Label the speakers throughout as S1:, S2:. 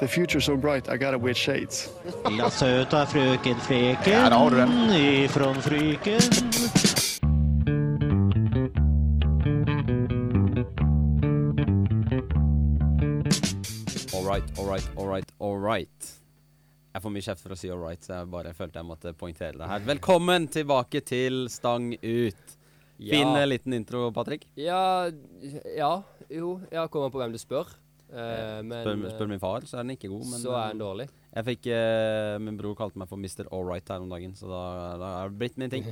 S1: The future's so bright, I gotta wear shades.
S2: La søta frøken Freken
S3: Der har du den.
S2: ifrån Fryken.
S4: All right, all right, all right, all right. Jeg får mye kjeft for å si all right, så jeg bare følte jeg måtte poengtere det her. Velkommen tilbake til Stang ut. Fin eh, liten intro, Patrick.
S5: Ja, ja jo, ja, kommer an på hvem du spør. Eh, men
S4: Spør,
S5: eh,
S4: spør min far, så er den ikke god. Men eh,
S5: så er den dårlig.
S4: jeg fikk eh, Min bror kalte meg for Mr. Alright her om dagen, så da, da er det blitt min ting.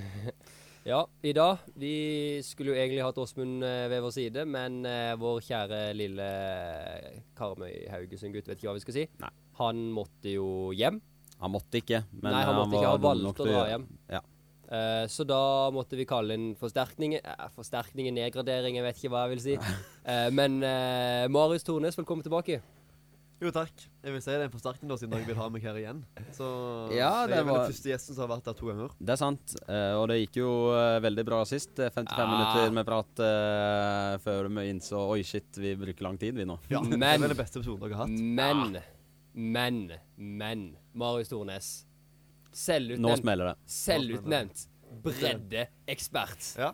S5: Ja, i dag Vi skulle jo egentlig hatt Åsmund eh, ved vår side, men eh, vår kjære lille eh, Karmøy Haugesund-gutt, vet ikke hva vi skal si,
S4: Nei.
S5: han måtte jo hjem.
S4: Han måtte ikke, men
S5: Nei, han måtte ikke.
S4: var
S5: Han
S4: dum
S5: valgte
S4: nok
S5: å
S4: til
S5: dra
S4: gjøre-
S5: hjem.
S4: Ja.
S5: Eh, så da måtte vi kalle inn forsterkninger. eh, forsterkninger, nedgradering, jeg vet ikke hva jeg vil si. Eh, men eh, Marius Tornes, velkommen tilbake.
S6: Jo, takk. Jeg vil si det er en forsterkning da, siden dere vil ha meg her igjen. Så
S4: Ja, det
S6: Jeg er vel
S4: var-
S6: den første gjesten som har vært her to ganger.
S4: Det er sant, eh, og det gikk jo eh, veldig bra sist. Eh, 55
S5: Ah.
S4: minutter med prat eh, før vi innså Oi, shit, vi bruker lang tid, vi nå.
S6: Ja, Det
S5: Men-
S6: er vel den beste episoden dere har
S4: Mm.
S6: hatt.
S5: Men, men, men Marius Tornes.
S4: Nå
S5: Selvutnevnt.
S4: smeller det.
S5: Selvutnevnt breddeekspert.
S6: Ja,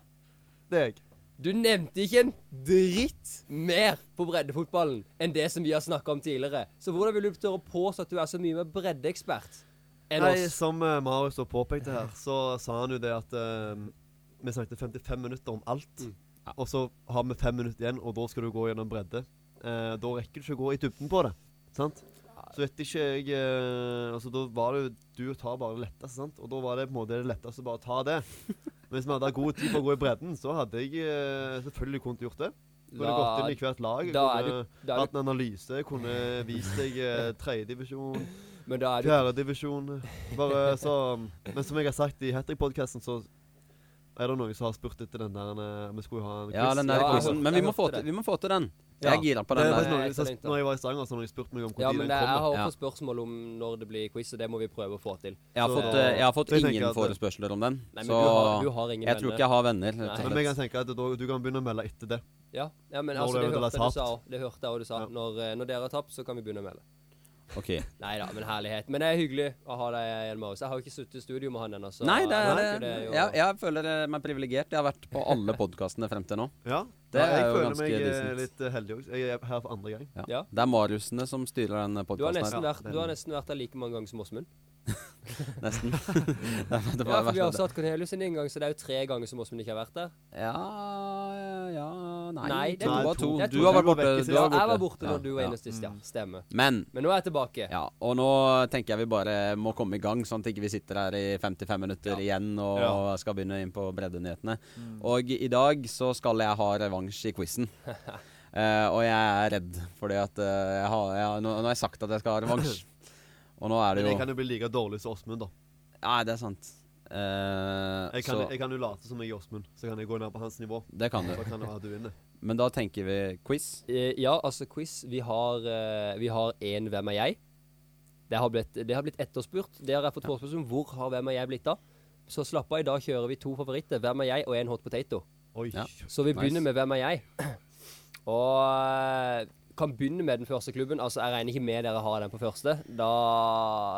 S6: det er jeg.
S5: Du nevnte ikke en dritt mer på breddefotballen enn det som vi har snakka om tidligere. Så hvordan vil du tørre å påstå at du er så mye mer breddeekspert enn
S6: Nei,
S5: oss?
S6: som eh, Marius da påpekte her, så sa han jo det at eh, vi snakket 55 minutter om alt.
S4: Mm.
S6: Og så har vi fem minutter igjen, og da skal du gå gjennom bredde. Eh, da rekker du ikke å gå i dybden på det. Sant? Så vet ikke jeg eh, Altså, da var det jo Du tar bare det letteste, sant? Og da var det på en måte det letteste å bare ta det. Men hvis vi hadde hatt god tid på å gå i bredden, så hadde jeg eh, selvfølgelig kunnet gjort det. Kunne
S5: Da-
S6: gått inn i hvert lag,
S5: da er
S6: kunne
S5: du- da er
S6: hatt en analyse, kunne vist deg eh, tredjedivisjon.
S5: Men da er du
S6: Fjerdedivisjon. Bare så Men som jeg har sagt i Hattrick-podkasten, så er det noen som har spurt etter den der eh, Vi skulle jo ha en quiz.
S4: Ja, den der
S5: Ja, jeg
S4: quizen.
S5: hørte-
S4: Men vi
S5: jeg
S4: må, få
S5: hørte
S4: til,
S5: det.
S4: vi må få til den.
S5: Ja.
S4: Jeg er gira på
S6: Det
S4: den
S6: er
S4: der.
S6: faktisk noen,
S5: jeg
S6: som,
S5: tenkte det.
S6: når jeg var i Stavanger, så har noen spurt meg om når
S5: Ja, men
S6: den
S5: det, jeg
S6: kommer.
S5: har
S4: Ja.
S5: også spørsmål om når det blir quiz, og det må vi prøve å få til.
S4: Jeg har
S6: Så-
S4: fått, eh, jeg har fått
S6: Så jeg tenker
S4: ingen
S6: at-
S4: forespørsler om den,
S5: Nei, men
S4: så
S5: du, har, du har ingen
S4: jeg tror ikke jeg har venner. rett og
S5: Nei.
S4: slett.
S6: Men jeg kan tenke at da- du kan begynne å melde etter det.
S5: Ja, ja, men
S6: Når
S5: altså, det hørte,
S6: det eventuelt er
S5: jeg du sa,
S6: tapt.
S5: det hørte jeg og du sa.
S6: Ja.
S5: Når, eh, når dere har tapt, så kan vi begynne å melde.
S4: Ok.
S5: Nei da, men herlighet. Men det er hyggelig å ha deg igjen, Marius. Jeg har jo ikke sittet i studio med han ennå, så
S4: Nei, det er,
S5: jeg,
S4: det,
S5: er jo-
S4: jeg, jeg føler meg privilegert. Jeg har vært på alle podkastene frem til nå.
S6: Ja.
S4: Det
S6: ja, jeg
S4: er jo
S6: føler
S4: ganske
S6: meg eh,
S4: decent.
S6: litt eh, heldig også. Jeg er her for andre gang.
S4: Ja.
S5: Ja.
S4: Det er Mariusene som styrer den
S5: du, har
S4: podkasten
S5: nesten
S4: her.
S5: vært, du har nesten vært der like mange ganger som Åsmund.
S4: Nesten. Det er- det
S5: Ja,
S4: var
S5: for vi har
S4: verst.
S5: satt Cornelius inn en gang, så det er jo tre ganger som Åsmund ikke har vært der.
S4: Ja, ja Nei,
S5: Nei,
S4: det
S5: det
S6: er
S4: var
S6: to.
S4: to.
S5: Det er to.
S4: Du har vært
S6: Du var
S4: borte.
S6: vekk i
S4: Du
S6: siste.
S4: var
S5: Ja,
S4: borte.
S5: jeg var borte
S4: Ja,
S5: når du var
S4: ja.
S5: inne sist, ja. Stemmer.
S4: Men
S5: Men nå er jeg tilbake.
S4: ja, og nå tenker jeg vi bare må komme i gang, sånn at ikke vi sitter her i 55 minutter igjen og
S6: Ja. Mm.
S4: skal begynne inn på breddenyhetene. Og i dag så skal jeg ha revansj i quizen. Eh, og jeg er redd, fordi at eh, jeg har, jeg, har- nå, nå har jeg sagt at jeg skal ha revansj. Og nå er det
S6: Men
S4: jo
S6: jeg kan jo bli like dårlig som Åsmund, da.
S4: Nei, det er sant. Eh,
S6: Jeg kan,
S4: så
S6: jeg kan jo late som jeg er Åsmund, så kan jeg gå ned på hans nivå.
S4: det kan
S6: Så
S4: du.
S6: kan det være at du vinner.
S4: Men da tenker vi quiz.
S5: Eh, Ja, altså quiz. Vi har, eh, vi har en Hvem er jeg? Det har blitt, det har blitt etterspurt. Det har jeg fått forespørsel om. Hvor har Hvem er jeg blitt av? Så slapp av, i dag kjører vi to favoritter. Hvem er jeg og en hot potato.
S6: Oi.
S4: Ja.
S5: Så vi
S4: Nice.
S5: begynner med Hvem er jeg? Og eh, kan begynne med den første klubben. Altså, jeg regner ikke med dere har den på første. Da,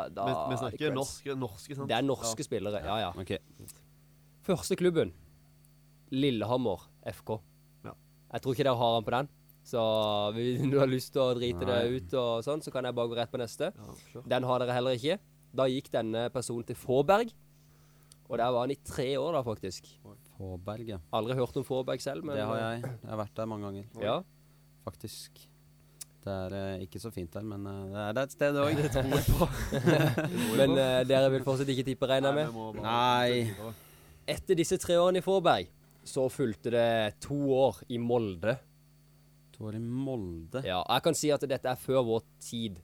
S5: da
S6: Vi, vi snakker
S5: Creds.
S6: norske, norske, sant?
S5: Det er norske
S6: Ja.
S5: spillere, ja ja.
S4: Ok.
S5: Første klubben. Lillehammer FK.
S6: Ja.
S5: Jeg tror ikke dere har han på den. Så hvis du har lyst til å drite det
S4: Nei.
S5: ut, og sånn, så kan jeg bare gå rett på neste.
S6: Ja, sure.
S5: Den har dere heller ikke. Da gikk denne personen til Fåberg. Og der var han i tre år, da, faktisk.
S4: Håberg, ja.
S5: Aldri hørt om Fåberg selv, men eh,
S4: Det har
S6: eh,
S4: jeg. Jeg har vært der mange ganger.
S5: Ja.
S4: faktisk. Det er eh, ikke så fint der, men eh, det, er, det er et sted òg. Det tror jeg på.
S5: Men eh, dere vil fortsatt ikke tippe, regner jeg
S6: Nei,
S5: med?
S6: vi må bare-
S4: Nei.
S5: Etter disse tre årene i Fåberg, så fulgte det to år i Molde.
S4: To år i Molde.
S5: Ja, jeg kan si at dette er før vår tid.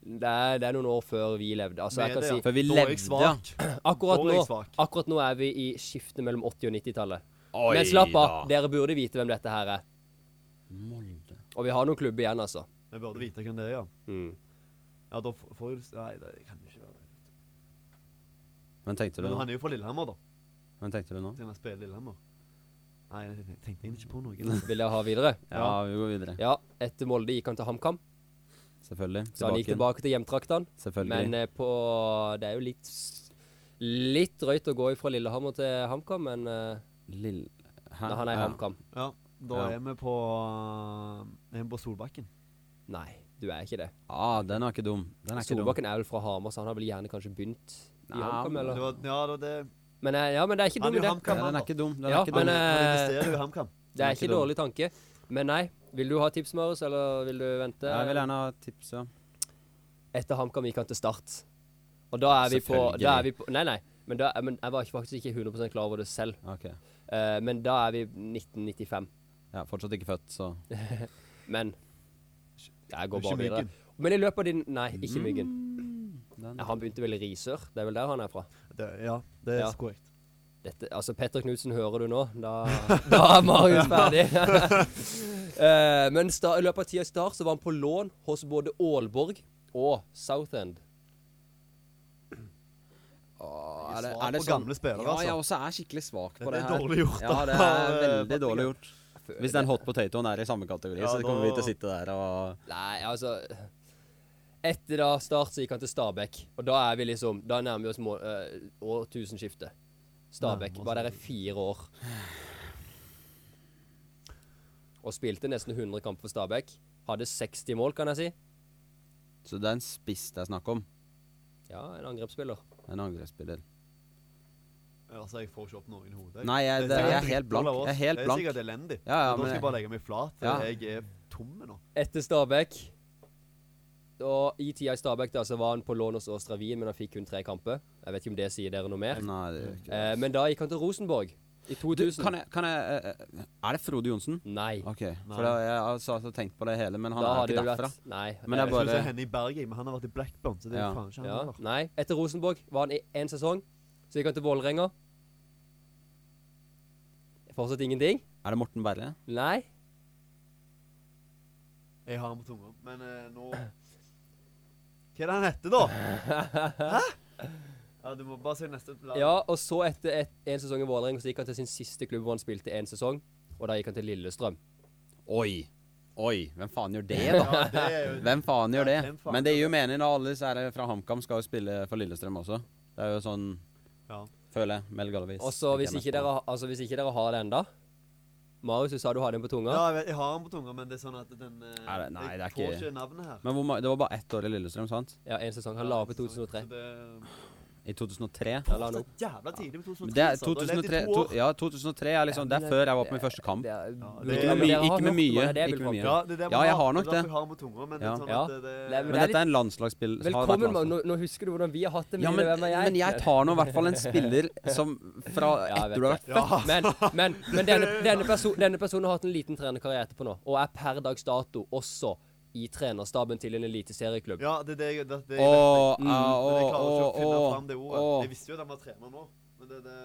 S5: Det er, det er noen år før vi levde. Altså, jeg
S6: Med
S5: kan
S6: det,
S5: si
S6: ja.
S4: Før vi
S6: Da er
S4: levde,
S6: jeg svak.
S5: Akkurat
S6: Da er jeg
S5: nå,
S6: svak.
S5: akkurat nå er vi i skiftet mellom 80- og 90-tallet. Men slapp av, dere burde vite hvem dette her er.
S4: Molde.
S5: Og vi har noen klubber igjen, altså.
S6: Jeg burde vite hvem det er, ja.
S5: Mm.
S6: Ja, da f- får du Nei, det kan du ikke være.
S4: Men tenkte du
S6: Men
S4: nå?
S6: han er jo fra Lillehammer, da.
S4: Men tenkte du nå?
S6: Siden han spiller i Lillehammer. Nei, jeg tenkte egentlig ikke på noe.
S5: Vil dere ha videre?
S4: Ja, vi går videre.
S5: Ja, etter Molde gikk han til HamKam.
S4: Selvfølgelig.
S5: Så han gikk
S4: igjen.
S5: tilbake til hjemtraktene.
S4: Selvfølgelig.
S5: Men eh, på Det er jo litt s- Litt drøyt å gå fra Lillehammer til HamKam, men eh,
S4: Lill... Hæ?
S5: nei, han er i
S4: Ja.
S5: HamKam.
S6: Ja, da
S4: Ja.
S6: er vi på eh, Er vi på Solbakken.
S5: Nei, du er ikke det.
S4: Ah, den er ikke dum. Den er ikke dum.
S5: Solbakken er vel fra Hamar, så han har vel gjerne kanskje begynt i
S4: Nei,
S5: HamKam,
S4: men
S6: Det
S5: eller?
S6: var, ja, det, var det,
S5: Men, eh, ja, men det er ikke
S6: Han er
S5: dum
S6: jo
S5: idé.
S6: HamKam.
S4: Ja, den er ikke dum. Den
S5: Ja,
S4: er ikke
S5: men,
S4: dum.
S5: eh,
S6: han investerer jo i HamKam.
S5: Det er
S4: ikke
S5: ikke
S4: dum.
S5: dårlig tanke. Men nei. Vil du ha tips, Marius, eller vil du vente?
S4: Jeg vil gjerne ha tips, ja.
S5: Etter HamKam gikk han til Start. Og da er vi på,
S4: Selvfølgelig.
S5: da er vi på Nei, nei. Men, da, men jeg var ikke- faktisk ikke 100 klar over det selv.
S4: Ok.
S5: Eh, men da er vi 1995.
S4: Ja, fortsatt ikke født, så
S5: Men jeg går
S6: Ikke
S5: bare videre.
S6: Myggen. Mm.
S5: Men i løpet av din Nei, ikke Myggen.
S4: den.
S5: Ja, han begynte vel i Risør. Det er vel der han er fra.
S6: Det, ja, det er
S5: Ja.
S6: så korrekt.
S5: Dette, altså, Petter Knutsen, hører du nå? Da, da er Marius ferdig. Eh, men sta, i løpet av tida i Start så var han på lån hos både Aalborg og Southend.
S4: Åh,
S6: Svak på gamle spillere,
S4: Ja,
S6: altså.
S4: jeg også er skikkelig svak på
S6: Det
S4: det,
S6: er
S4: her.
S6: dårlig gjort,
S4: Ja, det er
S6: da.
S4: veldig dårlig gjort. Hvis den hot potatoen er i samme kategori,
S6: Ja,
S4: så kommer vi
S6: da-
S4: til å sitte der og
S5: Nei, altså Etter da Start så gikk han til Stabæk, og da er vi liksom Da nærmer vi oss må, eh, årtusenskiftet. Stabæk
S6: Nærmer oss
S5: var der i fire år. Og spilte nesten 100 kamper for Stabæk. Hadde 60 mål, kan jeg si.
S4: Så det er en spiss det er snakk om.
S5: Ja, en angrepsspiller.
S4: En angrepsspiller.
S6: Altså, jeg får ikke opp noen i hodet.
S4: Nei, jeg, det, jeg er helt blank. Jeg er helt
S6: Det er
S4: blank.
S6: sikkert elendig.
S4: Ja, ja,
S6: men da
S4: men-
S6: skal jeg bare legge meg flat. for
S4: Ja.
S6: Jeg er tomme nå.
S5: Etter Stabæk Og i tida i Stabæk da, så var han på lån hos Åstra Wien, men han fikk kun tre kamper. Jeg vet ikke om det sier dere noe mer.
S4: Nei, det gjør ikke det.
S5: Eh, men da gikk han til Rosenborg i
S4: Du,
S5: 2000.
S4: kan jeg, kan jeg eh, Er det Frode Johnsen?
S5: Nei.
S4: OK. For da, jeg har så- så tenkt på det hele, men han
S5: da
S4: er jo
S5: hadde
S4: ikke
S5: det jo
S4: derfra.
S5: vært Nei.
S4: Men
S5: eh,
S4: jeg
S6: Jeg
S4: bare-
S6: skulle se henne i Bergen, men han har vært i Blackburn, så det er
S4: Ja.
S6: faen ikke han
S5: Ja,
S6: heller.
S5: nei. Etter Rosenborg var han i én sesong. Så gikk han til Vålerenga. Fortsatt ingenting?
S4: Er det Morten Berre?
S5: Nei.
S6: Jeg har ham på tunga, men eh, nå Hva er det han heter, da? Hæ? Ja, du må bare si neste lag.
S5: Ja, og så etter et, en sesong i Vålerenga så gikk han til sin siste klubb hvor han spilte én sesong. Og da gikk han til Lillestrøm.
S4: Oi. Oi. Hvem faen gjør det, da?
S6: Ja, det er jo
S4: Hvem faen gjør det?
S6: Ja, hvem faen
S4: Men det gir
S6: gjør
S4: jo mening, da. Alle disse fra HamKam skal jo spille for Lillestrøm også. Det er jo sånn,
S6: ja.
S4: føler jeg. Mel Gallavis.
S5: Og så hvis, ikke dere- altså, hvis ikke dere har det enda Marius, du sa du hadde den på tunga.
S6: ja, jeg, vet, jeg har ham på tunga, men det er sånn at den eh,
S4: Er det- nei, det er
S6: Jeg får
S4: ikke-
S6: ikke navnet her.
S4: Men hvor, ma- det var bare ett år i Lillestrøm, sant?
S5: Ja, én sesong. Han la opp i 2003.
S6: Så det
S4: I 2003.
S5: Ja, la han opp.
S6: er jævla tidlig med 2003.
S4: Men Det er,
S6: så du har levd i
S4: 2003
S6: to
S4: to,
S6: år.
S4: ja, 2003 er liksom Det er før jeg var på min første kamp.
S5: Det er-
S6: det-
S5: Ikke med
S4: Ikke
S5: mye-
S4: med mye,
S5: men det er
S4: ikke
S5: vel
S4: med
S5: folk.
S4: mye.
S6: Ja, det er det
S4: Ja, jeg har nok
S6: det. er
S4: det.
S6: derfor jeg har ham på tunga, men det
S4: Ja.
S6: er sånn
S5: Ja.
S6: at det,
S5: Det er-
S4: Men dette er en landslagsspill. har vært
S5: Velkommen, Marius.
S4: landslag.
S5: Nå, nå husker du hvordan vi har hatt det.
S4: Ja, men,
S5: hvem er
S4: men jeg tar nå i hvert fall en spiller som fra
S5: Ja, jeg vet
S4: etter du har vært
S5: det. Men, men, men denne, denne, perso denne personen har hatt en liten trenerkarriere etterpå nå, og er per dags dato også i trenerstaben til en eliteserieklubb.
S6: Ja, det er det jeg det, det, jeg vet.
S4: Og,
S5: Mm.
S4: ah,
S6: Men jeg
S4: og,
S6: klarer ikke å
S4: og,
S6: finne
S4: og,
S6: fram det ordet.
S4: og,
S6: Jeg visste jo at han var trener nå, men det, det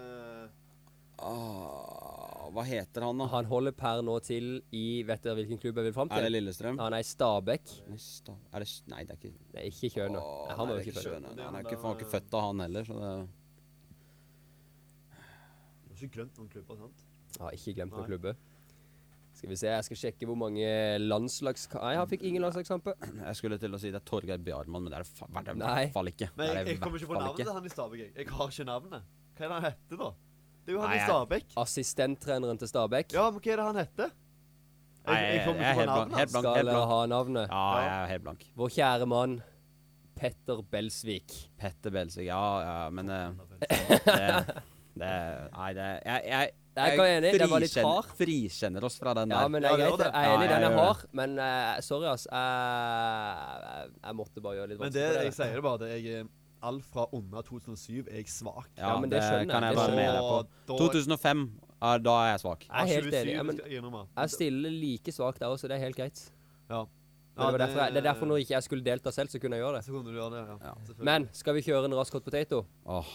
S4: ah, Hva heter han, da?
S5: Han holder per nå til i Vet dere hvilken klubb jeg vil fram
S4: Er det
S5: til?
S4: Lillestrøm?
S5: Han er i Stabæk.
S4: Stav- Er det Nei, det er ikke
S5: Nei, ikke Kjøna.
S4: Åh,
S5: Han
S4: nei,
S5: var
S4: det
S5: jo ikke Kjøna.
S4: Schøne.
S6: Det er
S4: Han er
S6: han
S4: ikke,
S6: der,
S4: faen ikke
S6: eh,
S4: født av han heller, så det
S6: Du har ikke glemt noen klubber, sant?
S5: Har ikke glemt noen
S6: Nei.
S5: klubber. Skal vi se, jeg skal sjekke hvor mange landslags... Nei, han fikk ingen landslagskamper.
S4: Jeg skulle til å si det er Torgeir Bjarmann, men det er det fa- var det i
S5: Nei.
S4: hvert fall ikke.
S6: Men
S4: Det er
S6: jeg,
S4: det i
S6: jeg kommer ikke på
S4: hvert fall
S6: navnet til han i Stabæk. Jeg Jeg har ikke navnet. Hva er det han heter, da? Det er jo han
S4: Nei,
S6: i
S4: jeg-
S6: Stabæk.
S5: Assistenttreneren til Stabæk.
S6: Ja, men hva er det han heter?
S4: Nei,
S6: Jeg, jeg kommer
S4: jeg er
S6: ikke på
S4: helt blank-
S6: navnet
S4: helt
S6: hans.
S4: blank,
S5: Skal
S4: helt
S5: jeg
S4: blank.
S5: ha navnet?
S4: Ja, jeg er helt blank.
S5: Vår kjære mann, Petter Belsvik.
S4: Petter Belsvik, ja, ja, men eh, det, det Nei, det Jeg, jeg,
S5: Jeg er ikke enig, det var litt
S4: frikjenner-
S5: hard.
S4: frikjenner oss fra den der.
S5: Ja, men jeg,
S6: Ja, det
S5: er
S6: var
S5: greit,
S6: det.
S5: jeg er enig,
S4: Ja, jeg
S5: den er
S4: gjør
S5: hard, men eh, sorry, ass. Jeg, jeg, jeg måtte bare gjøre litt
S6: Men det,
S5: vanskelig
S6: jeg sier det bare, det er jeg er alt fra under 2007 er jeg svak.
S4: ja,
S5: ja, men det skjønner
S4: kan
S5: jeg,
S4: jeg
S5: det
S4: være med
S6: skjønner
S4: deg på.
S6: jeg. Da-
S4: 2005, er, da er jeg svak.
S5: Jeg er helt enig, ja, men-
S6: skal jeg innrømme.
S5: Jeg stiller like svakt der også, det er helt greit.
S6: Ja.
S5: Men det, var derfor jeg, det er derfor når ikke jeg skulle delta selv, så kunne jeg gjøre det.
S6: Så kunne du gjøre det, ja.
S4: Ja.
S6: Selvfølgelig.
S5: Men skal vi kjøre en rask hot potato?
S4: Åh,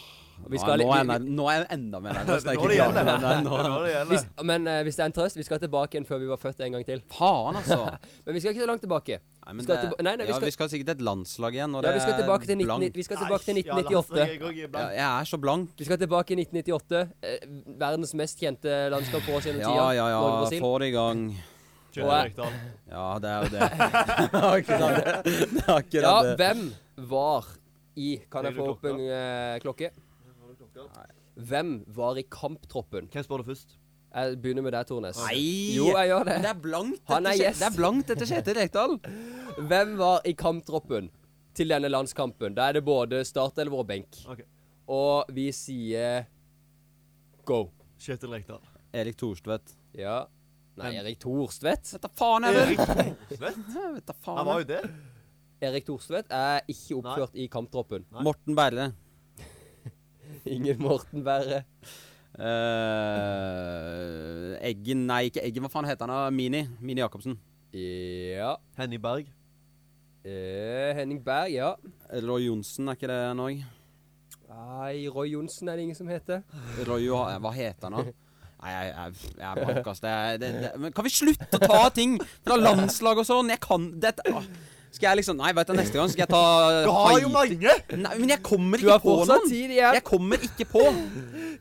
S5: Vi
S4: nå,
S5: skal
S4: nå, er jeg,
S5: litt-
S4: nær- nå er jeg enda mer nervøs.
S6: Det
S4: når
S6: er
S4: jeg ikke klarer
S6: nå det gjelder.
S4: den
S6: Det
S4: der
S6: er
S4: nå.
S6: nå det
S5: Hvis,
S6: gjelder.
S5: men eh, hvis det er en trøst, vi skal tilbake igjen før vi var født en gang til.
S4: Faen, altså.
S5: Men vi skal ikke så langt tilbake.
S4: Nei, men
S5: Skal
S4: det,
S5: tilba- nei, nei, vi
S4: ja,
S5: skal-
S4: vi skal sikkert et landslag igjen. Og
S5: Ja,
S4: det
S5: vi skal
S4: er
S5: tilbake til, 19,
S4: blank.
S5: vi skal tilbake til
S6: Nei, ja, landslag,
S5: 1998.
S6: jeg går i
S4: Ja,
S6: blank.
S4: jeg er så blank.
S5: Vi skal tilbake i 1998. eh, Verdens mest kjente landskap på oss gjennom
S4: Ja,
S5: tida.
S4: ja, ja.
S5: Norge-Brasil.
S4: Få det i gang.
S5: Og jeg-
S4: Ja, det er jo det. Det er akkurat det. det, er
S5: Ja,
S4: akkurat det.
S5: hvem var i Kan jeg
S6: Legger
S5: få
S6: du
S5: opp en eh, klokke? Hvem var i kamptroppen?
S6: Hvem spør du først?
S5: Jeg begynner med deg, Tornes.
S4: Nei!
S5: Jo, jeg gjør
S4: Men
S5: det.
S4: det er blankt
S5: Han er
S4: etter Kje-
S5: gjest.
S4: Det er blankt etter Kjetil Rekdal.
S5: Hvem var i kamptroppen til denne landskampen? Da er det både startelver og benk.
S6: Ok.
S5: Og vi sier go.
S6: Kjetil Rekdal.
S4: Erik Thorstvedt.
S5: Ja. Nei, Erik Thorstvedt.
S4: Vet da faen, jeg vil!
S6: Svett?
S4: Ja, Vet da
S6: Han
S4: faen.
S6: var
S4: jeg.
S6: jo det.
S5: Erik Thorstvedt er ikke oppført i kamptroppen.
S6: Nei.
S4: Morten Berre.
S5: Ingen Morten Berre.
S4: Eh, Eggen Nei, ikke Eggen. Hva faen heter han? da? Mini? Mini Jacobsen.
S5: Ja.
S6: Henny Berg.
S5: Eh, Henning Berg, ja.
S4: Roy Johnsen, er ikke det han òg?
S5: Nei, Roy Johnsen er det ingen som heter.
S4: Roy Joha- Hva heter han da? Nei, jeg, jeg, jeg er blank, ass. Det, er- det, det, men kan vi slutte å ta ting fra landslag og sånn? Jeg kan dette ah. Skal jeg liksom Nei, vet du, neste gang skal jeg ta
S6: Du har jo
S4: Haiti.
S6: mange!
S4: Nei, men jeg kommer
S5: Du har
S4: ikke på
S5: fortsatt
S4: noen.
S5: tid igjen.
S4: Jeg kommer ikke på.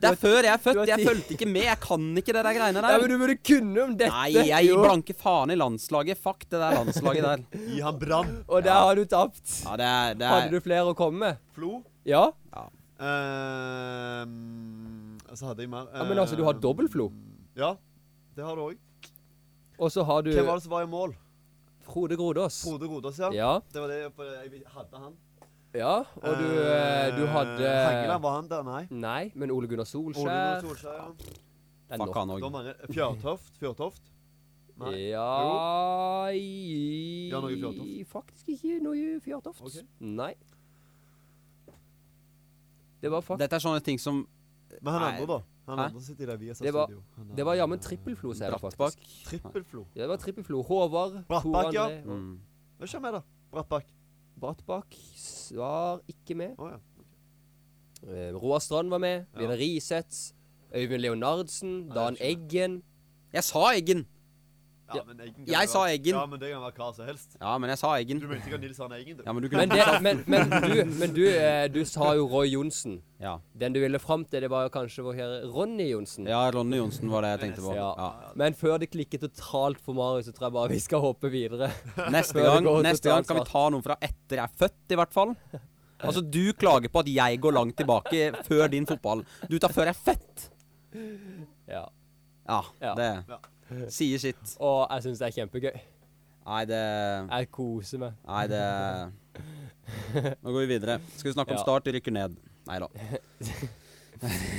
S4: Det er før jeg er
S5: du
S4: født.
S5: har
S4: Jeg
S5: tid.
S4: fulgte ikke med. Jeg kan ikke det der greiene
S5: Ja, men
S4: der.
S5: du burde kunne om dette.
S4: Nei, jeg gir
S5: Jo.
S4: blanke faen i landslaget. Fuck det der landslaget der.
S6: Gi han brann.
S5: Og der har du tapt.
S4: Ja, det er, det
S5: Hadde
S4: er
S5: du flere å komme med?
S6: Flo.
S5: Ja?
S6: Ehm, så hadde jeg mer ehm,
S5: ja. Men altså, du har dobbel flo.
S6: Ja, det har du òg.
S5: Og så har du
S6: Hvem var det som var i mål?
S5: Frode Grodås.
S6: Frode Godås, ja.
S5: Ja.
S6: Det var det jeg- for jeg hadde han.
S5: ja. Og du, eh, du
S6: Eh, Hangeland,
S5: hadde
S6: var han der? Nei.
S5: Nei, men Ole Gunnar
S6: Ole Gunnar
S5: Solskjær.
S6: Solskjær, ja.
S5: Det er
S4: Fuck
S5: nok.
S4: han
S6: Det var
S4: òg.
S6: mange. Fjørtoft? Fjørtoft? Nei.
S5: Ja i...
S6: Ja, Norge Fjørtoft.
S5: Faktisk ikke Norge Fjørtoft.
S6: Ok.
S5: Nei. Det var faktisk
S4: Dette er sånne ting som
S6: Men han
S4: Nei.
S6: andre, da? Han
S4: Hæ?
S6: andre sitter i det vi har satt
S5: Det var-
S6: studio. Han er-
S5: Det var jammen trippelflo, sier jeg
S4: Brattbakk.
S5: faktisk.
S6: Trippelflo.
S5: Ja, det var trippelflo. Håvard, Tor
S6: Brattbakk, ja.
S5: André og
S4: Mm.
S6: Hva skjer med det? Brattbakk.
S5: Brattbakk s- var ikke med.
S6: Å ja.
S5: Eh, Roar Strand var med.
S6: Ja.
S5: Vidar Riseth. Øyvind Leonardsen.
S6: Nei,
S5: Dan
S6: jeg
S5: Eggen.
S4: Jeg sa Eggen.
S6: ja men Eggen kan
S4: Jeg
S6: være-
S4: sa Eggen.
S6: Ja, men det kan være hva som helst.
S4: Ja, men jeg sa Eggen.
S6: Du mente ikke at Nils Arne Eggen, du?
S4: Ja, men du kunne
S5: Men, det, men, men, du, men du, eh, du sa jo Roy Johnsen.
S4: Ja.
S5: Den du ville fram til, det var jo kanskje vår kjære Ronny Johnsen.
S4: ja, Ronny Johnsen var det jeg tenkte på.
S5: Ja.
S4: Ja.
S5: Men før det klikker totalt for Marius, så tror jeg bare vi skal hoppe videre.
S4: Neste
S5: Før det
S4: gang,
S5: går
S4: neste gang
S5: totalt
S4: kan vi
S5: svart.
S4: ta noen fra etter jeg er født, i hvert fall. Altså, du klager på at jeg går langt tilbake før din fotball. Du tar før jeg er født.
S5: Ja.
S4: Ja,
S5: Ja.
S4: det sier sitt.
S5: Og jeg syns det er kjempegøy.
S4: Nei, det
S5: Jeg koser meg.
S4: Nei, det Nå går vi videre. Skal vi snakke om
S5: Ja.
S4: Start? De rykker ned. Nei da.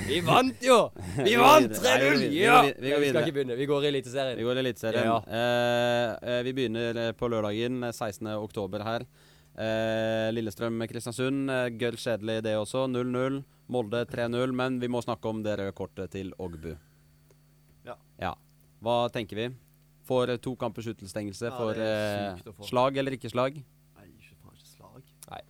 S5: Vi vant jo! Vi
S4: Vi går
S5: vant
S4: videre.
S5: 3-0!
S4: Nei, vi går
S5: Ja!
S4: videre. Vi går videre. Vi går
S5: Nei, skal
S4: videre.
S5: ikke begynne. Vi går i Eliteserien.
S4: Vi går i Eliteserien.
S5: Ja.
S4: Eh, eh, vi begynner eh, på lørdagen eh, 16. oktober her. Eh, Lillestrøm-Kristiansund. eh, Gøll kjedelig det også. 0-0. Molde 3-0. Men vi må snakke om det røde kortet til Ogbu.
S6: Ja.
S4: Hva tenker vi? Får eh, to kampers utelstengelse
S6: Ja,
S4: for
S6: det er
S4: eh,
S6: sykt å få.
S4: slag eller ikke slag?
S6: Nei, ikke faen ikke slag.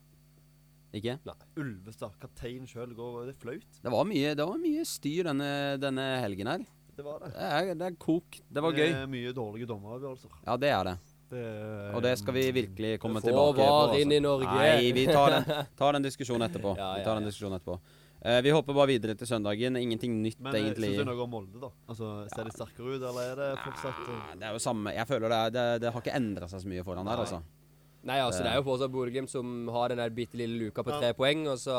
S4: Ikke?
S6: Ulvestad, kapteinen sjøl, går Det er flaut.
S4: Det var mye, det var mye styr denne, denne helgen her.
S6: Det var det.
S4: Det er, det er kok. Det var gøy.
S6: Det er mye dårlige dommeravgjørelser.
S4: Ja, det er det.
S6: Det er-
S4: Og det skal vi virkelig komme
S5: Få
S4: tilbake på.
S5: VAR
S4: altså.
S5: inn i Norge.
S4: Nei, vi tar den, tar den diskusjonen etterpå.
S5: Ja,
S4: Vi
S5: ja,
S4: tar den
S5: ja.
S4: diskusjonen etterpå. Eh, vi hopper bare videre til søndagen. Ingenting nytt,
S6: Men eh,
S4: egentlig.
S6: synes du noe om Molde, da? Altså, Ser de sterkere ut, eller er det fortsatt eh,
S4: Nei, det er jo samme Jeg føler det, er, det, det har ikke endra seg så mye foran der, altså.
S5: Nei, altså,
S4: Eh.
S5: det er jo fortsatt Bodø-Glimt som har den der bitte lille luka på tre poeng, og så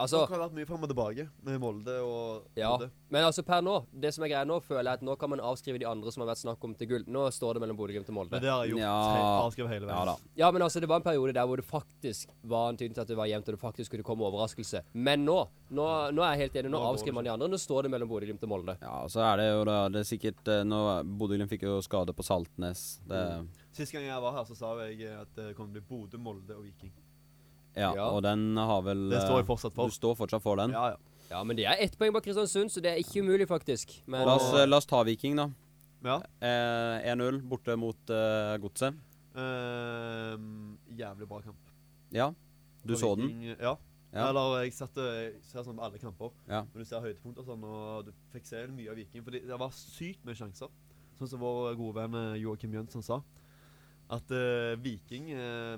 S5: Altså
S6: Det har vært mye fram og tilbake med Molde og
S5: Ja.
S6: Molde.
S5: Men altså per nå, det som er greia nå, føler jeg at nå kan man avskrive de andre som har vært snakk om til gull. Nå står det mellom Bodø-Glimt og
S6: Men
S5: Molde.
S6: det har jeg gjort.
S4: Ja.
S6: helt- Avskrevet hele veien.
S4: Ja da.
S5: Ja, men altså, det var en periode der hvor det faktisk var en tydning til at det var jevnt, og det faktisk kunne komme overraskelse. Men nå, nå, nå er jeg helt enig. Nå
S6: Nå går
S5: avskriver
S6: det
S5: man de andre. Nå står det mellom Bodø-Glimt og Molde.
S4: Ja, og så er det jo da det er sikkert eh, Nå Bodø-Glimt fikk jo skade på Saltnes. Det,
S6: Mm. Sist gang jeg var her, så sa jeg eh, at det kom til å bli Bodø, Molde og Viking.
S4: ja,
S5: Ja.
S4: og den har vel
S6: Det står
S4: eh,
S6: jeg fortsatt for.
S4: Du står fortsatt for den.
S6: Ja, ja.
S5: Ja, men de er ett poeng bak Kristiansund, så det er ikke umulig, faktisk. Men
S4: La, oss, eh, la oss ta Viking, da.
S6: ja.
S4: Eh, 1-0 borte mot eh, Godset.
S6: Ehm, jævlig bra kamp.
S4: Ja, du
S6: Og
S4: så den?
S6: Viking- Sånn Ja.
S4: Ja.
S6: Eller jeg satt og- jeg ser sånn på alle kamper.
S4: Ja.
S6: Men du ser høydepunkt og sånn, og du fikk se mye av Viking. For det var sykt mye sjanser. Sånn som vår gode venn eh, Joakim Jønsson sa. At eh, Viking eh,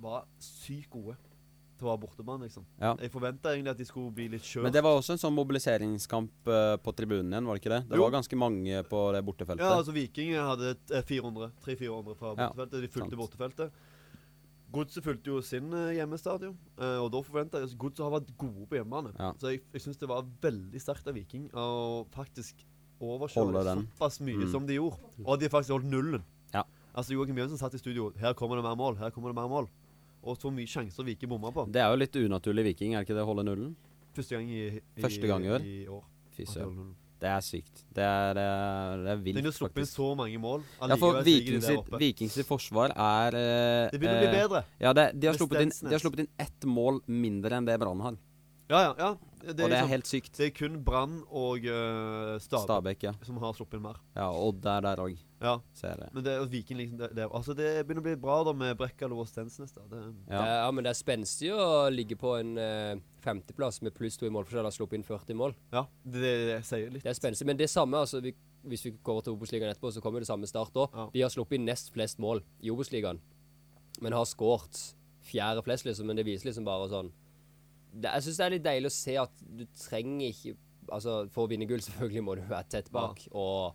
S6: var sykt gode til å være bortemann, liksom.
S4: Ja.
S6: Jeg forventa egentlig at de skulle bli
S4: Men
S6: litt skjøre.
S4: det var også en sånn mobiliseringskamp eh, på tribunen igjen, var det ikke det? Det
S6: Jo.
S4: var ganske mange på det bortefeltet.
S6: Ja, altså Viking hadde et, eh, 400, 300-400 fra
S4: Ja,
S6: bortefeltet. De fulgte
S4: sant.
S6: bortefeltet. Godset fulgte jo sin eh, hjemmestadion, eh, og da forventa jeg altså, Godset har vært gode på hjemmebane.
S4: Ja.
S6: Så jeg, jeg syns det var veldig sterkt av Viking å faktisk overkjøre
S4: Holde den.
S6: såpass mye
S4: Mm.
S6: som de gjorde. Og at de faktisk holdt nullen.
S4: Ja.
S6: Altså Joakim Jønsson satt i studio. Her kommer det mer mål, her kommer det mer mål. Og så mye sjanser Viking bomma på.
S4: Det er jo litt unaturlig Viking, er det ikke det? Holde nullen?
S6: Første gang i, i,
S4: Første gang i år.
S6: i år.
S4: Fy
S6: at de holdt
S4: søren.
S6: nullen.
S4: Det er sykt. Det er, det er, det er
S6: De har
S4: vilt,
S6: sluppet inn
S4: faktisk.
S6: så mange mål.
S4: Ja, for
S6: Allikevel ligger de
S4: Vikings
S6: der
S4: sitt,
S6: oppe.
S4: Vikings sitt forsvar er eh,
S6: Det begynner å bli
S4: eh,
S6: bedre.
S4: Ja, det, de, har
S6: Med
S4: sluppet inn,
S6: Stensnes.
S4: de har sluppet inn ett mål mindre enn det Brann har.
S6: Ja, ja, ja. Det,
S4: Og det
S6: liksom-
S4: er helt sykt.
S6: Det er kun Brann og uh, Stabæk
S4: Stabæk, ja.
S6: som har sluppet inn mer.
S4: ja. og Odd er der òg,
S6: Ja,
S4: ser jeg.
S6: men det er Viking liksom det, det, Altså, det begynner å bli bra da med Brekkalo og Stensnes. da. Det,
S4: Ja.
S5: Det er- ja, men det er spenstig å ligge på en eh, femteplass med pluss to i målforskjell og ha sluppet inn 40 mål.
S6: ja, det, det, det sier litt.
S5: Det er spenstig, men det samme, altså, vi, hvis vi går til Obos-ligaen etterpå, så kommer det samme start òg.
S6: Ja.
S5: De har sluppet inn nest flest mål i Obos-ligaen, men har skåret fjerde flest, liksom. Men det viser liksom bare sånn det, Jeg syns det er litt deilig å se at du trenger ikke Altså, for å vinne gull, selvfølgelig må du være tett bak og,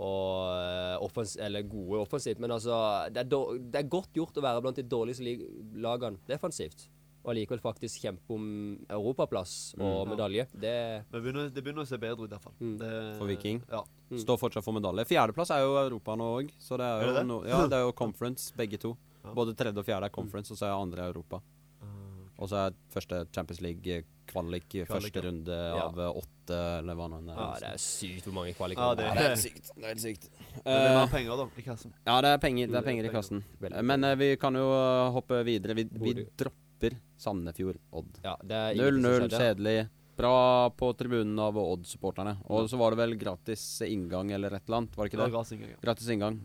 S5: og eh, offens, eller gode offensivt, men altså det er, dår- det er godt gjort å være blant de dårligste lig- lagene defensivt. Og allikevel faktisk kjempe om europaplass og
S6: Mm.
S5: medalje. Det
S6: Men det begynner, det begynner å se bedre ut, i hvert fall. Det,
S4: Mm. For Viking?
S6: Ja.
S4: Står fortsatt for medalje. Fjerdeplass er jo Europa nå òg, så det er
S6: Er
S4: jo,
S6: det det?
S4: No, ja, det er jo conference, begge to.
S6: Ja. Mm.
S4: Både tredje og fjerde er conference, og så er andre Europa. Og så er første Champions League-kvalik første
S6: ja.
S4: runde
S5: Ja.
S4: av eh, åtte, eller hva nå enn det
S5: Ja,
S4: er.
S5: det er sykt hvor mange kvaliker
S6: Ja, det,
S5: det er.
S4: Ja, det er helt sykt. Det er helt sykt.
S6: men det er
S4: Eh,
S6: mer penger da, i kassen.
S4: Ja, det er penger, det
S6: Det
S4: er
S6: er
S4: penger i
S6: penger.
S4: kassen.
S5: Veldig.
S4: Men eh, vi kan jo eh, hoppe videre. Vi, vi
S5: Bodø.
S4: dropper Sandefjord-Odd.
S5: Ja, det er ingenting
S4: 0-0,
S5: som skjedde.
S4: kjedelig. Bra på tribunen av Odd-supporterne. Og så var det vel gratis inngang eller et eller annet, var det
S6: Det
S4: ikke
S6: var
S4: det?
S6: rasing, ja.
S4: Gratis inngang.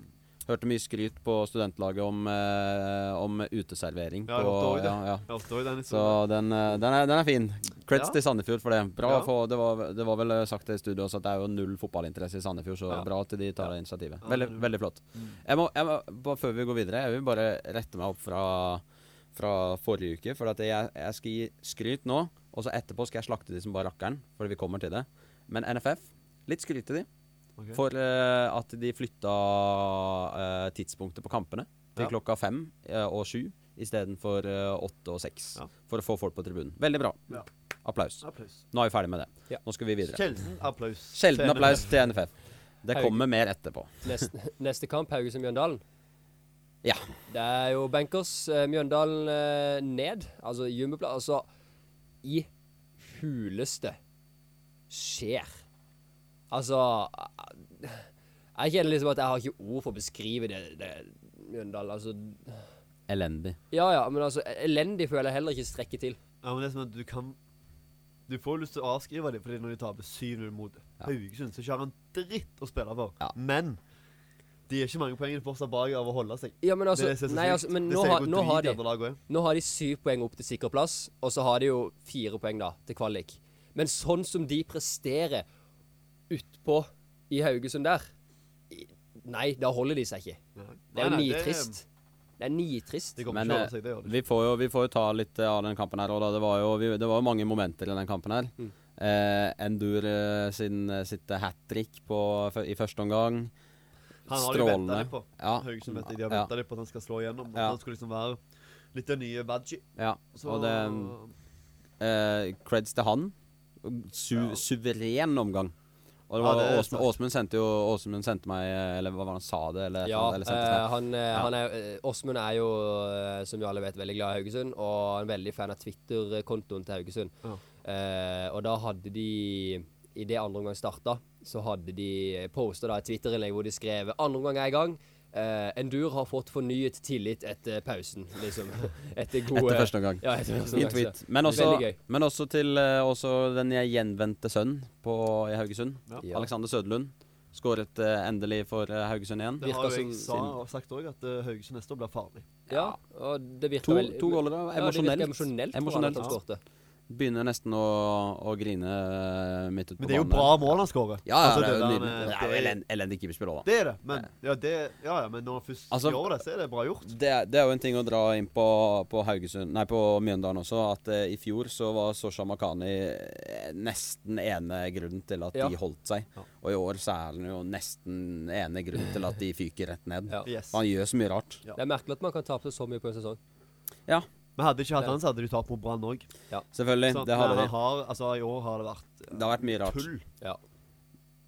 S4: Hørte mye skryt på studentlaget om, eh, om uteservering.
S6: Ja,
S4: på,
S6: jeg hørte også det.
S4: ja, ja.
S6: Jeg forstår jo den
S4: Så
S6: historien.
S4: den, eh, den, er, den er fin. Creds
S6: Ja.
S4: til Sandefjord for det. Bra
S6: Ja.
S4: for, det, var, det var vel eh, sagt i studio også at det er jo null fotballinteresse i Sandefjord, så
S6: Ja.
S4: bra at de tar det initiativet.
S6: Ja,
S4: Veldig,
S6: det er Mm.
S4: veldig flott. Jeg må, jeg må, bare før vi går videre, jeg vil bare rette meg opp fra, fra forrige uke. For at jeg, jeg skal gi skryt nå, og så etterpå skal jeg slakte de som bare rakkeren. Fordi vi kommer til det. Men NFF, litt skryt til de.
S6: Ok.
S4: For eh, at de flytta eh, tidspunktet på kampene til
S6: Ja.
S4: klokka fem eh, og sju istedenfor uh, åtte og seks.
S6: Ja.
S4: For å få folk på tribunen. Veldig bra.
S6: Ja.
S4: Applaus.
S6: Applaus.
S4: Nå er vi ferdig med det.
S5: Ja.
S4: Nå skal vi videre.
S6: Sjelden applaus.
S4: Sjelden
S6: Til
S4: applaus
S6: NFF.
S4: til NFF. Det
S5: Haug.
S4: kommer mer etterpå.
S5: Neste, neste kamp, Haugesund-Mjøndalen.
S4: Ja.
S5: Det er jo bankers. eh, Mjøndalen eh, ned. Altså jumboplass. Altså, i huleste skjer. Altså eh, Jeg kjenner liksom at jeg har ikke ord for å beskrive det, det Mjøndalen. Altså
S4: Elendig.
S5: Ja ja, men altså elendig føler jeg heller ikke strekker til.
S6: Ja, men det er som at du kan Du får jo lyst til å avskrive dem, fordi når de taper 7-0 mot Haugesund, så ikke har han dritt å spille for.
S4: Ja.
S6: Men de er ikke mange poengene fortsatt bak av å holde seg.
S5: Ja, men altså,
S6: det er det som er så
S5: nei,
S6: sykt.
S5: altså men
S6: det
S5: nå,
S6: ser
S5: har-
S6: hvor
S5: nå
S6: drit
S5: har de
S6: de andre lagene er.
S5: Nå har de syv poeng opp til sikker plass, og så har de jo fire poeng da, til kvalik. Men sånn som de presterer utpå i Haugesund der, i- nei, da holder de seg ikke. Det er jo
S6: Nei, nei,
S5: nitrist. Det er nitrist.
S6: Det kommer
S4: Men
S6: ikke å
S4: eh,
S6: holde seg, det gjør det.
S4: vi, får jo, vi får jo ta litt eh, av den kampen her. Og da, det var jo vi, det var jo mange momenter i den kampen her.
S6: Mm.
S4: Eh, Endur eh, sin, eh, sitt hat trick på, i første omgang.
S6: Han har de venta
S4: strålende.
S6: litt på.
S4: Ja.
S6: Haugesund vet de, de har
S4: Ja.
S6: venta litt på at han skal slå igjennom. og
S4: Ja.
S6: Han skulle liksom være litt den nye Badgie.
S4: Ja,
S6: Så
S4: og det eh, Creds til han. Su
S6: Ja.
S4: Suveren omgang. Og det
S6: Ja,
S4: var
S6: det er
S4: Åsmund, Åsmund sendte jo Åsmund sendte meg eh, Eller hva var det han sa det? Eller,
S5: Ja,
S4: eller sendte
S5: eh,
S4: snap.
S5: han, eh, han er, eh, Åsmund er jo, eh, som vi alle vet, veldig glad i Haugesund, og han er veldig fan av Twitter-kontoen til Haugesund.
S6: Ja.
S5: Eh, og da hadde de, i det andre omgang starta, så hadde de posta et Twitter-innlegg hvor de skrev andre omgang er i gang. Eh, Endur har fått fornyet tillit etter pausen, liksom. Etter gode
S4: Etter første omgang.
S5: Ja, etter første
S4: Fin
S5: omgang.
S4: tweet.
S5: så-
S4: Men også,
S5: Veldig gøy.
S4: men også til eh, også den jeg gjenvendte sønnen på, i Haugesund.
S5: Ja.
S4: Alexander Søderlund. Skåret eh, endelig for eh, Haugesund igjen.
S6: Det har
S5: virker
S6: jo jeg sa,
S5: som-
S6: og sagt òg, at eh, Haugesund neste år blir farlig.
S5: Ja, og det virka
S4: To,
S5: veldig
S4: to goller, da.
S5: Ja, det virker
S4: Emosjonelt.
S5: emosjonelt. tror jeg,
S4: Emosjonelt.
S5: at han skårte.
S4: Begynner nesten å, å grine eh, midt ute på banen.
S6: Men det er jo bra mål han skårer.
S4: Ja, ja,
S6: Altså,
S4: det er jo
S6: der
S4: nydelig.
S6: med-
S4: Det er jo elend- elendig keeperspill òg, da.
S6: Det er det, men ja, det, ja, ja, men når han først
S4: Altså-
S6: gjør det, så er det bra gjort.
S4: Det, er- det er jo en ting å dra inn på, på Haugesund Nei, på Mjøndalen også, at eh, i fjor så var Sosha Makhani eh, nesten ene grunnen til at
S5: Ja.
S4: de holdt seg.
S6: Ja.
S4: Og i år så er han jo nesten ene grunnen til at de fyker rett ned.
S5: Ja.
S6: Yes.
S4: Han gjør så mye rart.
S6: Ja.
S5: Det er merkelig at man kan tape så mye på en sesong.
S4: Ja,
S6: Men hadde ikke hatt han, så hadde de tapt mot Brann òg.
S4: selvfølgelig. Det hadde vi.
S6: Altså, I år har det vært
S4: Det har vært mye rart.
S6: tull.
S5: Ja.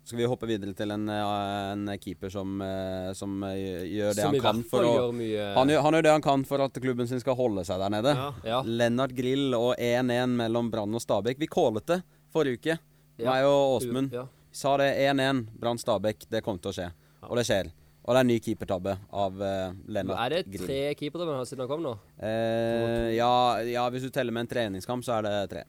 S4: Skal vi hoppe videre til en, eh, en keeper som, eh, som eh, gjør det
S5: Som i
S4: han kan
S5: hvert
S4: for
S5: fall
S4: å
S5: gjør mye
S4: Han gjør, han gjør det han kan for at klubben sin skal holde seg der nede.
S6: Ja.
S5: Ja.
S4: Lennart Grill og 1-1 mellom Brann og Stabæk. Vi kålet det forrige uke,
S5: Ja.
S4: meg og Åsmund.
S5: Ja.
S4: Sa det 1-1, Brann-Stabæk. Det kommer til å skje. Og det skjer. Og det er en ny keepertabbe av eh,
S5: Men Er
S4: Lennart
S5: det
S4: Grill.
S5: tre keeperdømmer han har siden han kom nå?
S4: Eh, ja, ja, hvis du teller med en treningskamp, så er det tre.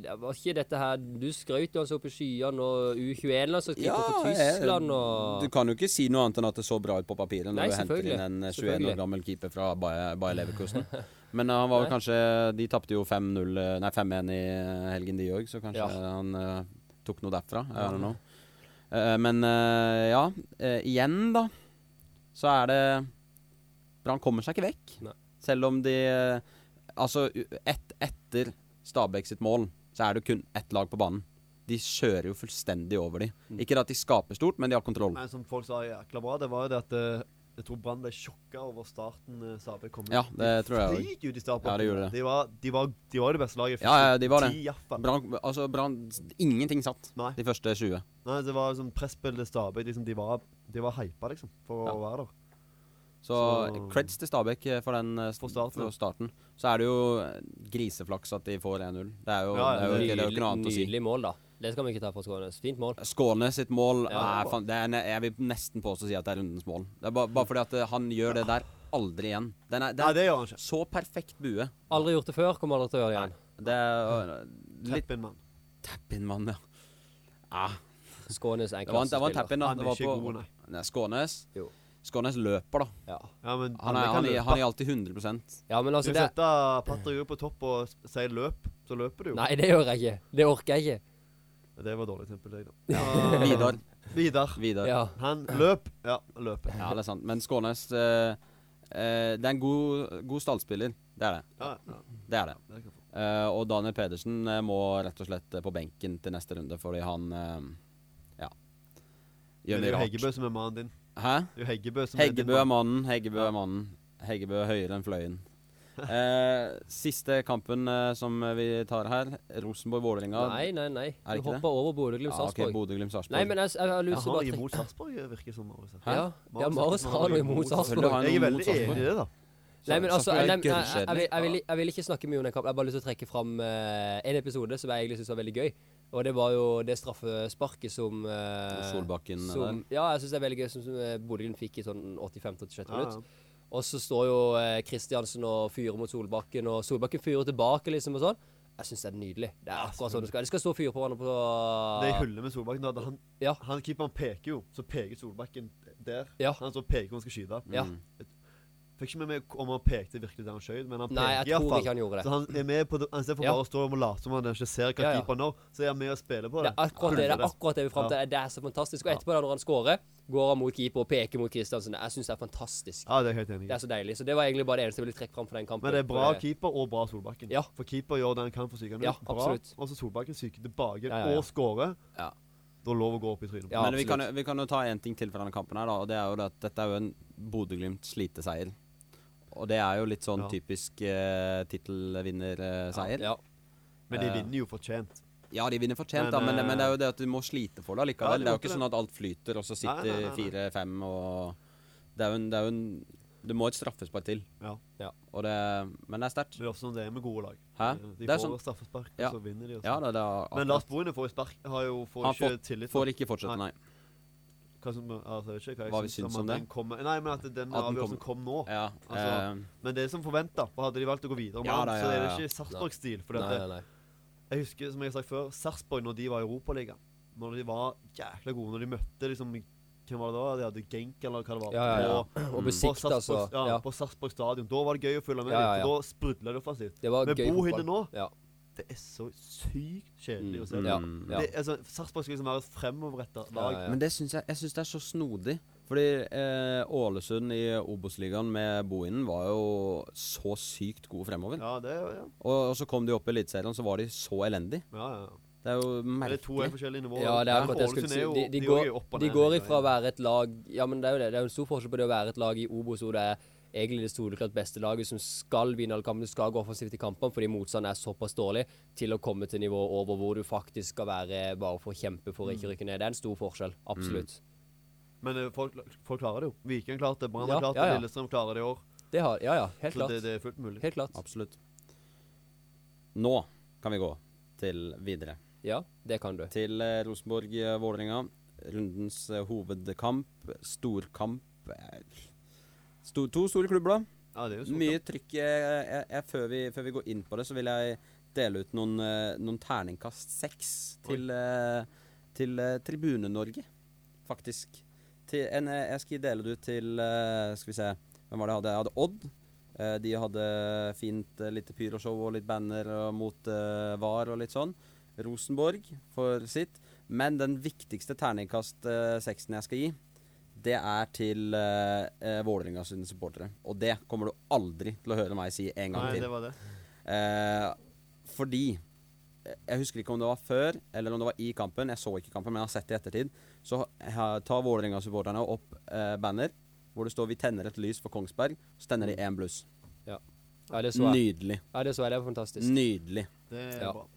S5: Det var ikke dette her Du skrøt jo altså oppe i skyene og U21 og så keeper
S4: Ja,
S5: for
S4: jeg-
S5: Tyskland og
S4: Du kan jo ikke si noe annet enn at det så bra ut på papiret når
S5: Nei,
S4: du henter
S5: selvfølgelig.
S4: inn en eh, 21
S5: Selvfølgelig.
S4: år gammel keeper fra Bayer Bayer Leverkusen. Men eh, han var vel
S5: Nei.
S4: kanskje De tapte jo 5-0 eh, Nei, 5-1 i eh, helgen, de òg, så kanskje
S5: Ja.
S4: han eh, tok noe derfra. I don't know. Eh, men eh, ja, eh, igjen, da, så er det Brann kommer seg ikke vekk.
S5: Nei.
S4: Selv om de eh, Altså, u- ett etter Stabæk sitt mål, så er det kun ett lag på banen. De kjører jo fullstendig over de.
S6: Mm.
S4: Ikke at de skaper stort, men de har kontroll.
S6: Men som folk sa jækla bra, det var jo det at eh, jeg tror Brann ble sjokka over starten eh, Stabæk kom ut.
S4: Ja, det tror jeg
S6: Flyg ut i starten.
S4: Ja, det gjorde det.
S6: De var, de var, de var det beste laget.
S4: Ja, ja, de var det.
S6: Ti, i hvert fall.
S4: Brann, altså Brann Ingenting satt
S6: Nei.
S4: de første 20.
S6: Nei, det var liksom presspillet Stabæk. Liksom, de var, de var hypa, liksom, for
S4: Ja.
S6: å være der.
S4: Så,
S6: Så-
S4: creds til Stabæk eh, for den eh,
S6: For starten, ja.
S4: for starten. Så er det jo eh, griseflaks at de får 1-0. Det er jo,
S6: Ja, ja,
S4: det er jo, ikke- det er jo
S5: Nydelig,
S4: ikke noe annet å si.
S5: nydelig mål, da. Det skal vi ikke ta fra Skånes. Fint mål.
S4: Skåne sitt mål
S5: Ja.
S4: er, fan, det er, ne- Jeg vil nesten påstå å si at det er rundens mål. Det er bare, bare fordi at eh, han gjør det der aldri igjen. Den er,
S6: Nei,
S4: det
S6: det gjør han
S4: er
S6: ikke.
S4: så perfekt bue.
S5: Aldri gjort det før, kommer aldri til å gjøre det igjen.
S4: Det er eh, litt
S6: Teppin, mann.
S4: tap-in, mann. Ja. Ah,
S5: Skånes er en
S4: det var en, det var en
S5: klassespiller.
S4: tap-in, da.
S6: Han er
S4: Det var
S6: ikke god,
S4: på
S6: nei.
S4: Nei, Skånes.
S5: Jo.
S4: Skånes løper, da.
S5: Ja.
S6: Ja, men
S4: Han er, han, er- han er alltid 100
S5: ja, men
S6: Hvis
S5: altså
S6: du
S5: det,
S6: setter Patrick på topp og s- sier løp, så løper du jo.
S5: Nei, det gjør jeg ikke. Det orker jeg ikke.
S6: Det var dårlig eksempel, jeg, da.
S4: Vidar.
S6: Vidar.
S4: Vidar.
S5: Ja.
S6: Han løp. Ja, løp.
S4: Ja, det er sant. Men Skånes eh, eh, Det er en god, god stallspiller. Det er det.
S6: Ja, ja,
S4: Det er det.
S6: det kan jeg få.
S4: Eh, og Daniel Pedersen eh, må rett og slett eh, på benken til neste runde fordi han eh, ja
S6: Men
S4: gjør
S6: det er
S4: mye
S6: jo
S4: rart.
S6: Heggebø som er mannen din.
S4: Hæ?
S6: Det er jo Heggebø som er din
S4: Heggebø er
S6: mann.
S4: mannen. Heggebø er mannen. Heggebø er høyere enn fløyen. Eh, siste kampen eh, som vi tar her, Rosenborg-Vålerenga.
S5: Nei, nei, nei.
S4: Er det
S5: Du
S4: ikke det?
S5: hopper over Bodø-Glimt
S4: Ja, ok,
S5: Sarpsborg.
S4: Bodø-Glimt-Sarpsborg.
S5: Nei, men jeg, jeg, jeg
S6: Jeg
S5: lurer
S6: har
S5: bare
S6: noe
S5: trekk-
S6: imot Sarpsborg, virker det som. Marius.
S4: Hæ?
S5: Ja, ja Marius har noe imot
S4: Selvfølgelig
S5: Sarpsborg.
S4: har han
S6: Jeg er
S4: noe
S6: veldig
S4: imot Sarpsborg.
S6: enig i det, da.
S5: Nei, men altså,
S4: Sarpsborg er
S5: jeg, jeg, jeg, jeg,
S4: gørrkjedelig.
S5: vil- jeg, vil, jeg vil ikke snakke mye om den kampen. Jeg har bare lyst til å trekke fram eh, en episode som jeg egentlig syns var veldig gøy. Og det var jo det straffesparket som eh,
S4: Solbakken
S5: som, Ja, jeg syns det er veldig gøy, som, som eh, Bodø-Glimt fikk i sånn 85-86
S6: Ja, ja.
S5: minutt. Og så står jo eh, Kristiansen og fyrer mot Solbakken, og Solbakken fyrer tilbake, liksom, og sånn. Jeg syns det er nydelig. Det er akkurat sånn det skal være. De skal stå og fyre på hverandre på
S6: Det er hullet med Solbakken. da, at Han,
S5: Ja.
S6: han keeperen peker jo, så peker Solbakken der.
S5: Ja.
S6: Han så peker hvor han skal skyte.
S5: Ja.
S6: Fikk ikke med meg om han pekte virkelig der han skjøt, men han
S5: Nei, jeg
S6: peker i hvert
S5: tror
S6: fall.
S5: ikke han gjorde det.
S6: Så han er med på det, istedenfor
S5: Ja.
S6: bare å stå og late som han ikke ser hva
S5: Ja, ja.
S6: keeperen gjør, så er han med og spiller på
S5: Det
S6: det.
S5: er akkurat det, det, er
S6: Hullet.
S5: akkurat det vi fram til.
S6: Ja.
S5: Det er så fantastisk. Og etterpå, da når han scorer, går han mot keeper og peker mot Kristiansen. Jeg syns det er fantastisk.
S6: Ja, det er jeg helt enig
S5: Det
S6: i.
S5: er så deilig. Så det var egentlig bare det eneste jeg ville trekke fram fra den kampen.
S6: Men det er bra
S5: Og det-
S6: keeper og bra Solbakken.
S5: Ja.
S6: For keeper gjør det han kan for psyken.
S5: Ja,
S6: bra.
S5: absolutt.
S6: Og så Solbakken psyker tilbake
S5: Ja, ja, ja.
S6: og scorer.
S4: Ja.
S6: Da er lov å gå opp i trynet.
S5: Ja,
S4: Men vi kan, jo-
S5: absolutt.
S4: vi kan jo ta én ting til fra denne kampen, her da, og det er jo det at dette er jo en Bodø-Glimt-sliteseier. Og det er jo litt sånn
S6: Ja.
S4: typisk eh, tittelvinnerseier. Ja.
S5: Ja.
S6: Men de
S4: Eh.
S6: vinner jo fortjent.
S4: de vinner fortjent,
S6: Men,
S4: da, men,
S6: eh,
S4: men det er jo det at du må slite for det
S6: Ja,
S4: allikevel.
S6: de
S4: det er jo ikke
S6: måtte det.
S4: sånn at alt flyter, og så
S6: Nei, nei,
S4: sitter
S6: nei, nei.
S4: fire-fem og Det er jo en, det er jo en Du må et straffespark til.
S6: Ja.
S4: Og det, men det er sterkt.
S6: Det er ofte sånn det er med gode lag.
S4: Hæ?
S6: De
S4: Det er
S6: får
S4: sånn-
S6: straffespark, og
S4: Ja.
S6: så vinner de. og
S4: Ja,
S6: sånn.
S4: det, det er
S6: Men Lars Boine får jo spark Har jo får
S4: Han
S6: ikke
S4: får-
S6: tillit.
S4: Får ikke fortsette, nei.
S6: Hva som, altså, jeg vet ikke
S4: Hva
S6: hva
S4: vi
S6: jeg
S4: syns om
S6: at
S4: det?
S6: den kommer- Nei, men at den
S4: At den
S6: avgjørelsen kom nå.
S4: Ja,
S6: Altså,
S4: eh,
S6: Men det er som forventa. Hadde de valgt å gå videre med
S4: Ja,
S6: han,
S4: da,
S6: så
S4: ja,
S6: er det
S4: ja, ja.
S6: ikke Sarpsborg-stil. For eh,
S5: Nei, nei, nei.
S6: jeg husker, som jeg har sagt før, Sarpsborg, når de var i Europaligaen Når de var jækla gode, når de møtte liksom Hvem var det da? De hadde Genk, eller hva det var.
S5: Ja, ja, ja.
S6: På,
S5: Og
S6: på
S5: besikt,
S6: Sarpsborg-
S5: altså.
S6: ja,
S5: Ja.
S6: på Sarpsborg stadion. Da var det gøy å følge med.
S5: Ja, ja, ja.
S6: litt, for Da sprudla det offensivt.
S5: Det var
S6: Med
S5: gøy
S6: Bohine
S5: fotball.
S6: nå
S5: Ja.
S6: det er så sykt kjedelig å se.
S5: Ja,
S4: Mm.
S5: ja.
S6: Det, altså, Sarpsborg skal liksom være et fremoverretta lag.
S5: Ja, ja.
S4: Men det syns jeg, jeg synes det er så snodig. Fordi eh, Ålesund i Obos-ligaen med Bohinen var jo så sykt gode fremover.
S6: Ja, det er jo ja.
S4: Og, og så kom de opp i Eliteserien, så var de så elendige.
S6: ja, ja.
S4: Det er jo
S6: Men Det er to er
S4: merkelig.
S6: forskjellige nivåer.
S5: Ja, det er akkurat det jeg skulle
S6: Ålesund
S5: si.
S6: jo-
S5: De, de,
S6: er jo
S5: går,
S6: opp og
S5: de
S6: ned liksom.
S5: går
S6: hele
S5: ifra å
S6: veien.
S5: være et lag Ja, men det er jo det. Det er jo en stor forskjell på det å være et lag i Obos hvor det er egentlig det soleklart beste laget som skal vinne alle kampene, skal gå offensivt i kampene fordi motstanden er såpass dårlig, til å komme til nivået over hvor du faktisk skal være bare for å kjempe for å
S6: Mm.
S5: ikke rykke ned. Det er en stor forskjell. Absolutt.
S6: Men eh, folk, folk klarer det jo. Viking klarte det, Brann
S5: Ja,
S6: har klart
S5: ja, ja.
S6: det, Lillestrøm klarer det i år.
S5: Det har Ja, ja. Helt
S6: Så
S5: klart.
S6: det, det er fullt mulig.
S5: Helt klart.
S4: Absolutt. Nå kan vi gå til videre.
S5: Ja, det kan du.
S4: Til eh, Rosenborg-Vålerenga. Rundens eh, hovedkamp. Storkamp. eh, Sto, to store klubber, da.
S6: Ja, det er jo stort,
S4: Mye trykk. Jeg, jeg, jeg, før, vi, før vi går inn på det, så vil jeg dele ut noen, eh, noen terningkast seks til, eh, til eh, Tribune-Norge, faktisk. Til en, eh, jeg skal dele det ut til eh, Skal vi se Hvem var det jeg hadde? Jeg hadde Odd. Eh, De hadde fint eh, lite pyroshow og litt banner og mot eh, VAR og litt sånn. Rosenborg for sitt. Men den viktigste terningkast eh, seksen jeg skal gi, det er til uh, Vålerenga sine supportere. Og det kommer du aldri til å høre meg si en gang
S6: Nei,
S4: til.
S6: det var det.
S4: Eh, fordi eh, Jeg husker ikke om det var før eller om det var i kampen. Jeg så ikke kampen, men jeg har sett det i ettertid. Så ha- tar Vålerenga-supporterne opp eh, banner hvor det står 'Vi tenner et lys for Kongsberg'. Så tenner de én bluss.
S5: Ja. ja, det så Mm. jeg.
S4: Nydelig.
S5: Ja, det så jeg. Det var fantastisk.
S4: Nydelig.
S6: Det er
S5: Ja.
S6: bra.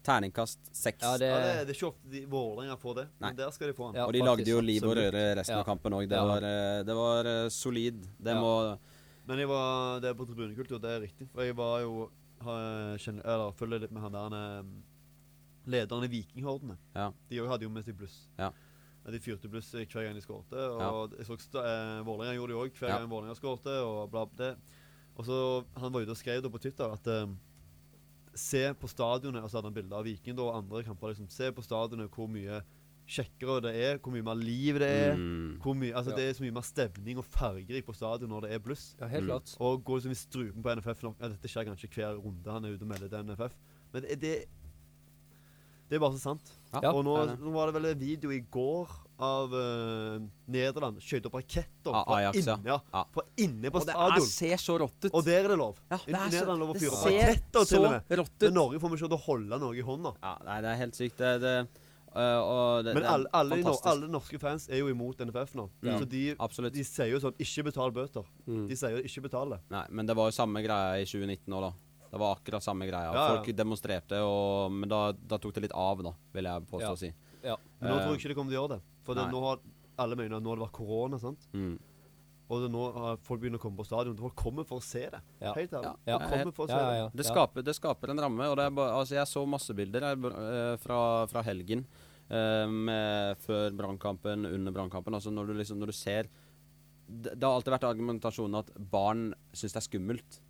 S4: Terningkast seks.
S5: Ja, det
S6: Ja, det, er- det er ikke ofte de- Vålerenga får det,
S4: Nei.
S6: men der skal de få den.
S5: Ja.
S4: og de
S5: faktisk,
S4: lagde jo liv og
S6: absolutt.
S4: røre resten
S5: Ja.
S4: av kampen òg. Det,
S5: Ja.
S4: var, eh, det var eh, solid. Det
S5: Ja.
S4: må
S6: Men jeg var det er på tribunekultur, det er riktig. For jeg var jo har- kjenner, eller, følger litt med han der eh, lederen i Vikinghordene.
S4: Ja.
S6: De òg hadde jo med seg bluss.
S4: Ja.
S6: De fyrte bluss eh, hver gang de skårte. Og jeg så sta- eh, Vålerenga gjorde det òg hver
S4: Ja.
S6: gang Vålerenga skårte. Og bla, bla, det. Og så Han var ute og skrev da på Twitter at eh, Se på stadionet, og så hadde han bilde av Viking da, og andre kamper. liksom, Se på stadionet hvor mye kjekkere det er, hvor mye mer liv det er.
S4: Mm.
S6: Hvor mye, altså
S5: Ja.
S6: Det er så mye mer stemning og fargerik på stadion når det er bluss.
S5: Ja, helt klart.
S6: Og går liksom i strupen på NFF nok. Ja, dette skjer kanskje hver runde han er ute og melder til NFF. Men det, det, det er bare så sant.
S5: Ja,
S6: og nå,
S4: det er det.
S6: nå var det vel en video i går av eh, Nederland skjøt opp raketter
S4: Av
S6: fra
S4: Ajax, ja.
S6: inne, ja.
S4: Ja.
S6: fra inne på
S4: Og det er,
S6: stadion.
S4: ser så rått ut.
S6: Og der er det lov.
S4: Ja,
S6: I Nederland lov å
S4: det
S6: fyre opp
S4: ser
S6: raketter til og med.
S4: så rått
S6: Men
S4: ut.
S6: Norge får vi ikke til å holde noe i hånda.
S4: Ja, nei, det er helt sykt. Det, det, øh, og det,
S6: Men
S4: det er
S6: alle, alle, de, nor-
S4: fantastisk.
S6: alle norske fans er jo imot NFF nå.
S4: Ja.
S6: Så de,
S4: Absolutt. Mm.
S6: de sier jo sånn Ikke betal bøter. De sier jo ikke betal det.
S4: Nei, men det var jo samme greia i 2019 òg, da. Det var akkurat samme greia.
S6: Ja, ja.
S4: Folk demonstrerte, og, men da, da tok det litt av, da, vil jeg påstå å
S5: Ja.
S4: si.
S6: Mm.
S5: Ja.
S6: Men nå tror
S4: Eh,
S6: jeg ikke de kommer til å gjøre det. For det,
S4: nei.
S6: nå har alle mener at nå har det vært korona, sant?
S4: Mm.
S6: og det, nå har folk begynner å komme på stadion. Folk kommer for å se det.
S5: Ja.
S6: Helt ærlig.
S5: Ja.
S6: Folk kommer for å se
S5: Ja, ja, ja.
S4: Det, skaper, det skaper en ramme. Og det er ba, altså, jeg så masse bilder jeg, eh, fra, fra helgen. eh, med, før brannkampen, under brannkampen. Altså når du liksom når du ser Det, det har alltid vært argumentasjonen at barn syns det er skummelt.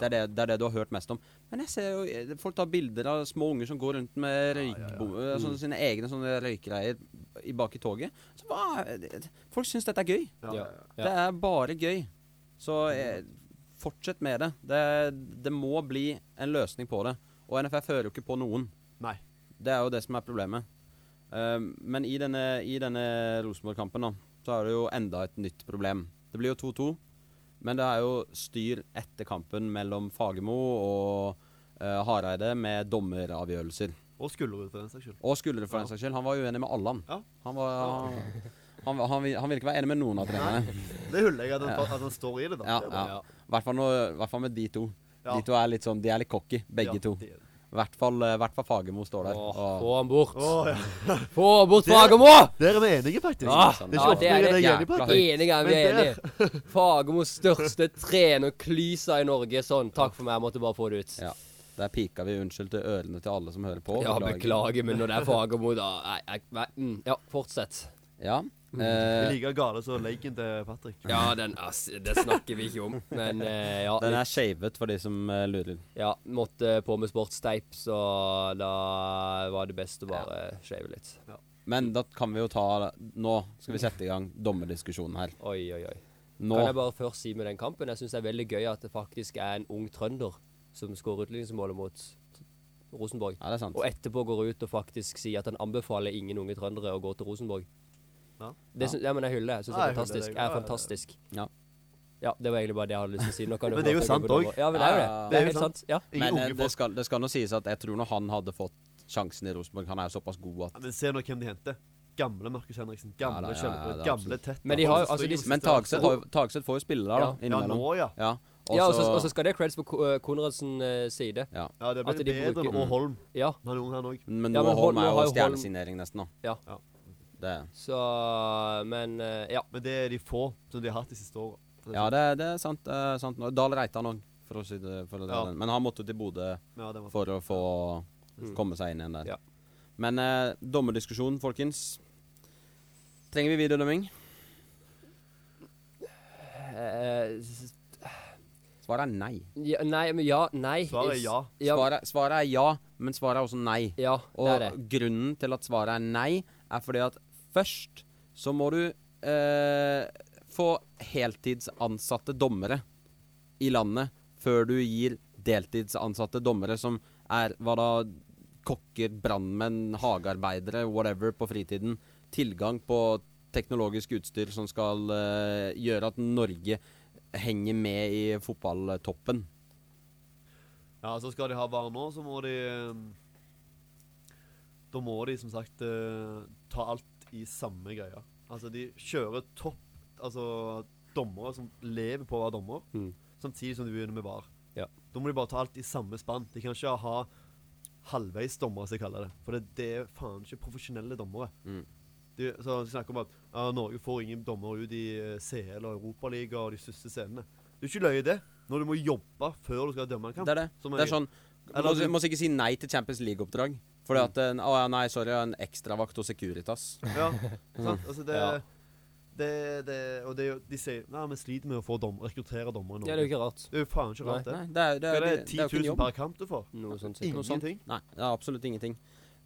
S4: Det er det, det er det du har hørt mest om. Men jeg ser jo eh, folk tar bilder av små unger som går rundt med røykbom... eh, Sånne, sine egne sånne røykgreier i- bak i toget. Så hva er det- Folk syns dette er gøy.
S6: det. Ja.
S5: Ja. Ja.
S4: Det er bare gøy. Så eh, fortsett med det. det. Det må bli en løsning på det. Og NFF hører jo ikke på noen.
S6: Nei.
S4: Det er jo det som er problemet. Ehm, men i denne, i denne Rosenborg-kampen da, så er det jo enda et nytt problem. Det blir jo 2-2, men det er jo styr etter kampen mellom Fagermo og eh, Hareide med dommeravgjørelser.
S6: Og Skullerud, for den saks skyld.
S4: Og Skullerud, for den saks skyld. Han var uenig med alle, han.
S6: Ja.
S4: Han, var, han, han, han, vil- han vil ikke være enig med noen av trenerne.
S6: Det huller jeg at han, at han står i det, da.
S4: Ja,
S6: Det er bra.
S4: ja. I hvert fall nå- i hvert fall med de to.
S6: Ja.
S4: De to er litt sånn, de er litt cocky, begge
S6: Ja,
S4: to.
S6: det er det.
S4: I hvert fall, eh, hvert fall Fagermo står der.
S5: Åh,
S4: og,
S5: få han bort.
S6: Å, ja.
S5: Få han bort
S6: Det-
S5: Fagermo!
S6: Der er vi enige, faktisk.
S5: Ah,
S6: det er ikke
S5: ja,
S6: ofte
S5: det er
S6: jeg
S5: det
S6: er enig på
S4: jækla
S6: dette.
S4: høyt.
S5: Enige er vi
S6: Men der-
S5: enige. Fagermos største trenerklysa i Norge. Sånn, takk for meg, jeg måtte bare få det ut.
S4: ja. Der pika vi unnskyld til ørene til alle som hører på.
S5: Ja, beklager, men når det er Fagermo, da nei, jeg, nei, mm, Ja, fortsett.
S4: Ja.
S5: Mm.
S6: Det er
S4: Eh,
S6: like gale som leggen til Patrick.
S5: Ja, den ass, Det snakker vi ikke om, men eh, ja.
S4: den er
S5: litt-
S4: shavet for de som eh, lurer.
S5: ja. Måtte på med sportsteip, så da var det best å bare shave litt.
S4: Men da kan vi jo ta Nå skal vi sette i gang dommerdiskusjonen her.
S5: Oi, oi, oi.
S4: Nå
S5: Kan jeg bare først si med den kampen Jeg syns det er veldig gøy at det faktisk er en ung trønder som skårer utligningsmålet mot Rosenborg.
S4: Ja, det er sant.
S5: Og etterpå går ut og faktisk sier at han anbefaler ingen unge trøndere å gå til Rosenborg.
S6: Ja.
S5: Det syns- ja, men jeg hyller det. Jeg syns det
S6: Ja,
S5: er
S6: jeg hyller
S5: fantastisk.
S6: det.
S5: Jeg er
S6: Ja, ja, ja.
S5: fantastisk.
S4: Ja.
S5: Ja, det var egentlig bare det jeg hadde lyst til å si. Nå kan du
S6: Men det er jo
S5: prate om
S6: sant
S5: det.
S6: også.
S5: Ja, men det er jo
S4: Ja,
S5: det.
S4: ja, ja.
S5: Det er helt sant. Ja.
S6: Ingen
S4: Men eh,
S6: unge
S4: det
S6: folk.
S4: skal, det skal nå sies at jeg tror når han hadde fått sjansen i Rosenborg Han er jo såpass god at
S6: Ja, men se nå hvem de henter. Gamle Markus Henriksen,
S4: Ja,
S6: gamle
S4: det- ja, ja,
S6: Kjellbø,
S4: det er
S6: gamle
S4: absolutt.
S6: Tett.
S5: Men de har jo-
S6: Holmstrøm,
S5: altså, de-
S4: Men Tagseth har jo- Tagseth får jo spille der, da.
S5: Ja.
S6: Ja,
S4: Innimellom.
S6: nå, ja.
S4: Ja,
S5: Ja, og så
S4: også-
S5: og så skal det creds på Ko- eh, Konradsen eh, side.
S4: ja.
S6: Ja, det
S5: At
S6: blir
S5: de
S6: bedre.
S5: bruker-
S6: Og Holm.
S5: Ja,
S6: Han er ung, han òg.
S4: Men
S5: Ja,
S4: Noah
S5: men
S4: Holm
S5: Holm-
S4: er
S5: nå har
S4: jo
S5: jo Holm-
S4: stjernesignering nesten, da.
S5: ja.
S4: Det,
S5: Så Men eh, ja.
S6: Men det er de få som de har hatt de siste åra.
S4: ja, det, det er sant. eh, sant. Nå- Dahl Reitan òg, for å si det for å
S6: Ja.
S4: den. Men han måtte til Bodø
S6: Ja, det var
S4: for å få komme seg inn igjen der.
S5: Ja.
S4: Men eh, dommerdiskusjon, folkens. Trenger vi videodømming?
S5: Eh, s-
S4: Svaret er nei.
S5: ja nei, men ja, nei.
S6: Svaret er ja.
S5: Ja,
S4: Svaret, svaret er ja, men svaret er også nei.
S5: ja
S4: Og
S5: det er det.
S4: grunnen til at svaret er nei, er fordi at først så må du eh, få heltidsansatte dommere i landet før du gir deltidsansatte dommere som er hva da kokker, brannmenn, hagearbeidere, whatever på fritiden, tilgang på teknologisk utstyr som skal eh, gjøre at Norge henger med i fotballtoppen.
S6: sånn. Ja, så skal de ha VAR nå, så må de ehm, Da må de som sagt eh, ta alt i samme greia. Altså, de kjører topp Altså dommere som lever på å være dommer,
S5: Mm.
S6: samtidig som de begynner med VAR.
S5: Ja.
S6: Da må de bare ta alt i samme spann. De kan ikke ha halvveis dommere, som jeg kaller det. For det, det er faen ikke profesjonelle dommere.
S4: Mm.
S6: De, så de snakker om at ja, Norge får ingen dommere ut i eh, CL og Europaligaen og de største scenene. Det er ikke løye, det. Når du må jobbe før du skal dømme en kamp.
S4: Det er det.
S6: Som
S4: Det
S6: jeg-
S4: er sånn
S6: Eller
S4: Må
S6: du-
S4: må ikke si nei til Champions League-oppdrag. Fordi at en, Å ja, nei, sorry, en ekstravakt hos Securitas.
S6: Ja, sant? Altså det,
S5: Ja.
S6: det, det Og det, er jo- de sier Nei, vi sliter med å få dom, rekruttere dommere i Norge.
S5: Ja, det er jo ikke rart.
S6: Det er jo faen ikke rart, det.
S4: Nei, det er, det
S6: Hva
S4: er,
S6: er
S4: det,
S6: det 10
S4: er jo ikke en
S6: 000
S4: jobb.
S6: per kamp du får?
S5: Noe sånt sikkert.
S4: Noe sånt.
S6: Ingenting.
S4: Nei, det er absolutt ingenting.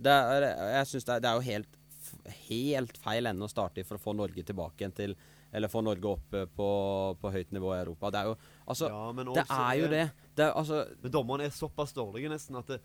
S4: Det er, jeg synes det, er, det er jo helt, f- helt feil ende å starte i for å få Norge tilbake igjen til Eller få Norge opp eh, på, på høyt nivå i Europa. Det er jo Altså,
S6: Ja, men
S4: det
S6: også
S4: er jo det. Det er altså
S6: Men dommerne er såpass dårlige nesten at det,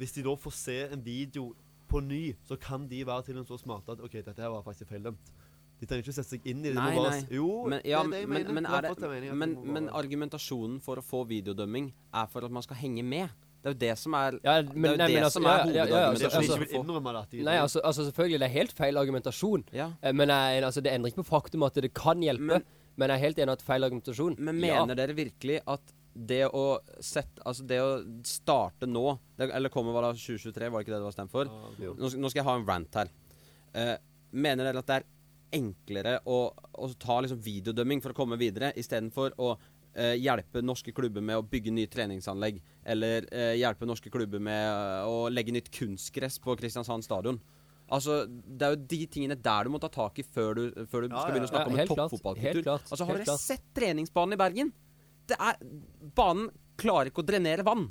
S6: hvis de da får se en video på ny, så kan de være til en så smarte at OK, dette her var faktisk feildømt. De trenger ikke å sette seg inn i det. de
S4: Nei,
S6: må bare
S4: nei.
S6: s- Jo,
S4: Men, ja,
S6: det er det jeg
S4: men,
S6: mener.
S4: men,
S6: Det er
S4: er
S6: akkurat det jeg mener,
S4: det,
S6: at
S4: men,
S6: de må
S4: men
S6: bare-
S4: argumentasjonen for å få videodømming er for at man skal henge med. Det er jo det som er
S5: Ja,
S4: Det er
S5: men,
S4: jo
S5: nei,
S4: det
S5: men altså,
S4: som
S5: ja,
S4: er
S5: ja, ja,
S6: Det er
S5: altså,
S6: fordi de
S5: altså,
S6: ikke vil innrømme det. at de-
S5: Nei, altså, altså selvfølgelig, det er helt feil argumentasjon.
S4: Ja.
S5: Eh, Men jeg, altså, det endrer ikke på faktum at det kan hjelpe.
S4: Men-
S5: Men, jeg er helt enig at feil argumentasjon.
S4: Men mener dere virkelig at det å sette Altså, det å starte nå det, Eller kommer hva da 2023, var det ikke det det var stemt for?
S5: jo.
S4: Nå, skal- nå skal jeg ha en rant her. Eh, mener dere at det er enklere å, å ta liksom videodømming for å komme videre, istedenfor å eh, hjelpe norske klubber med å bygge nye treningsanlegg? Eller eh, hjelpe norske klubber med eh, å legge nytt kunstgress på Kristiansand stadion? Altså, Det er jo de tingene der du må ta tak i før du, før du
S6: Ja,
S4: skal
S6: ja,
S4: begynne å
S5: ja.
S4: snakke
S5: Ja, helt
S4: om en
S5: klart, helt
S4: toppfotballkultur.
S5: klart,
S4: Altså, har
S5: helt
S4: dere
S5: klart.
S4: sett treningsbanen i Bergen? Det er, banen klarer ikke å drenere vann.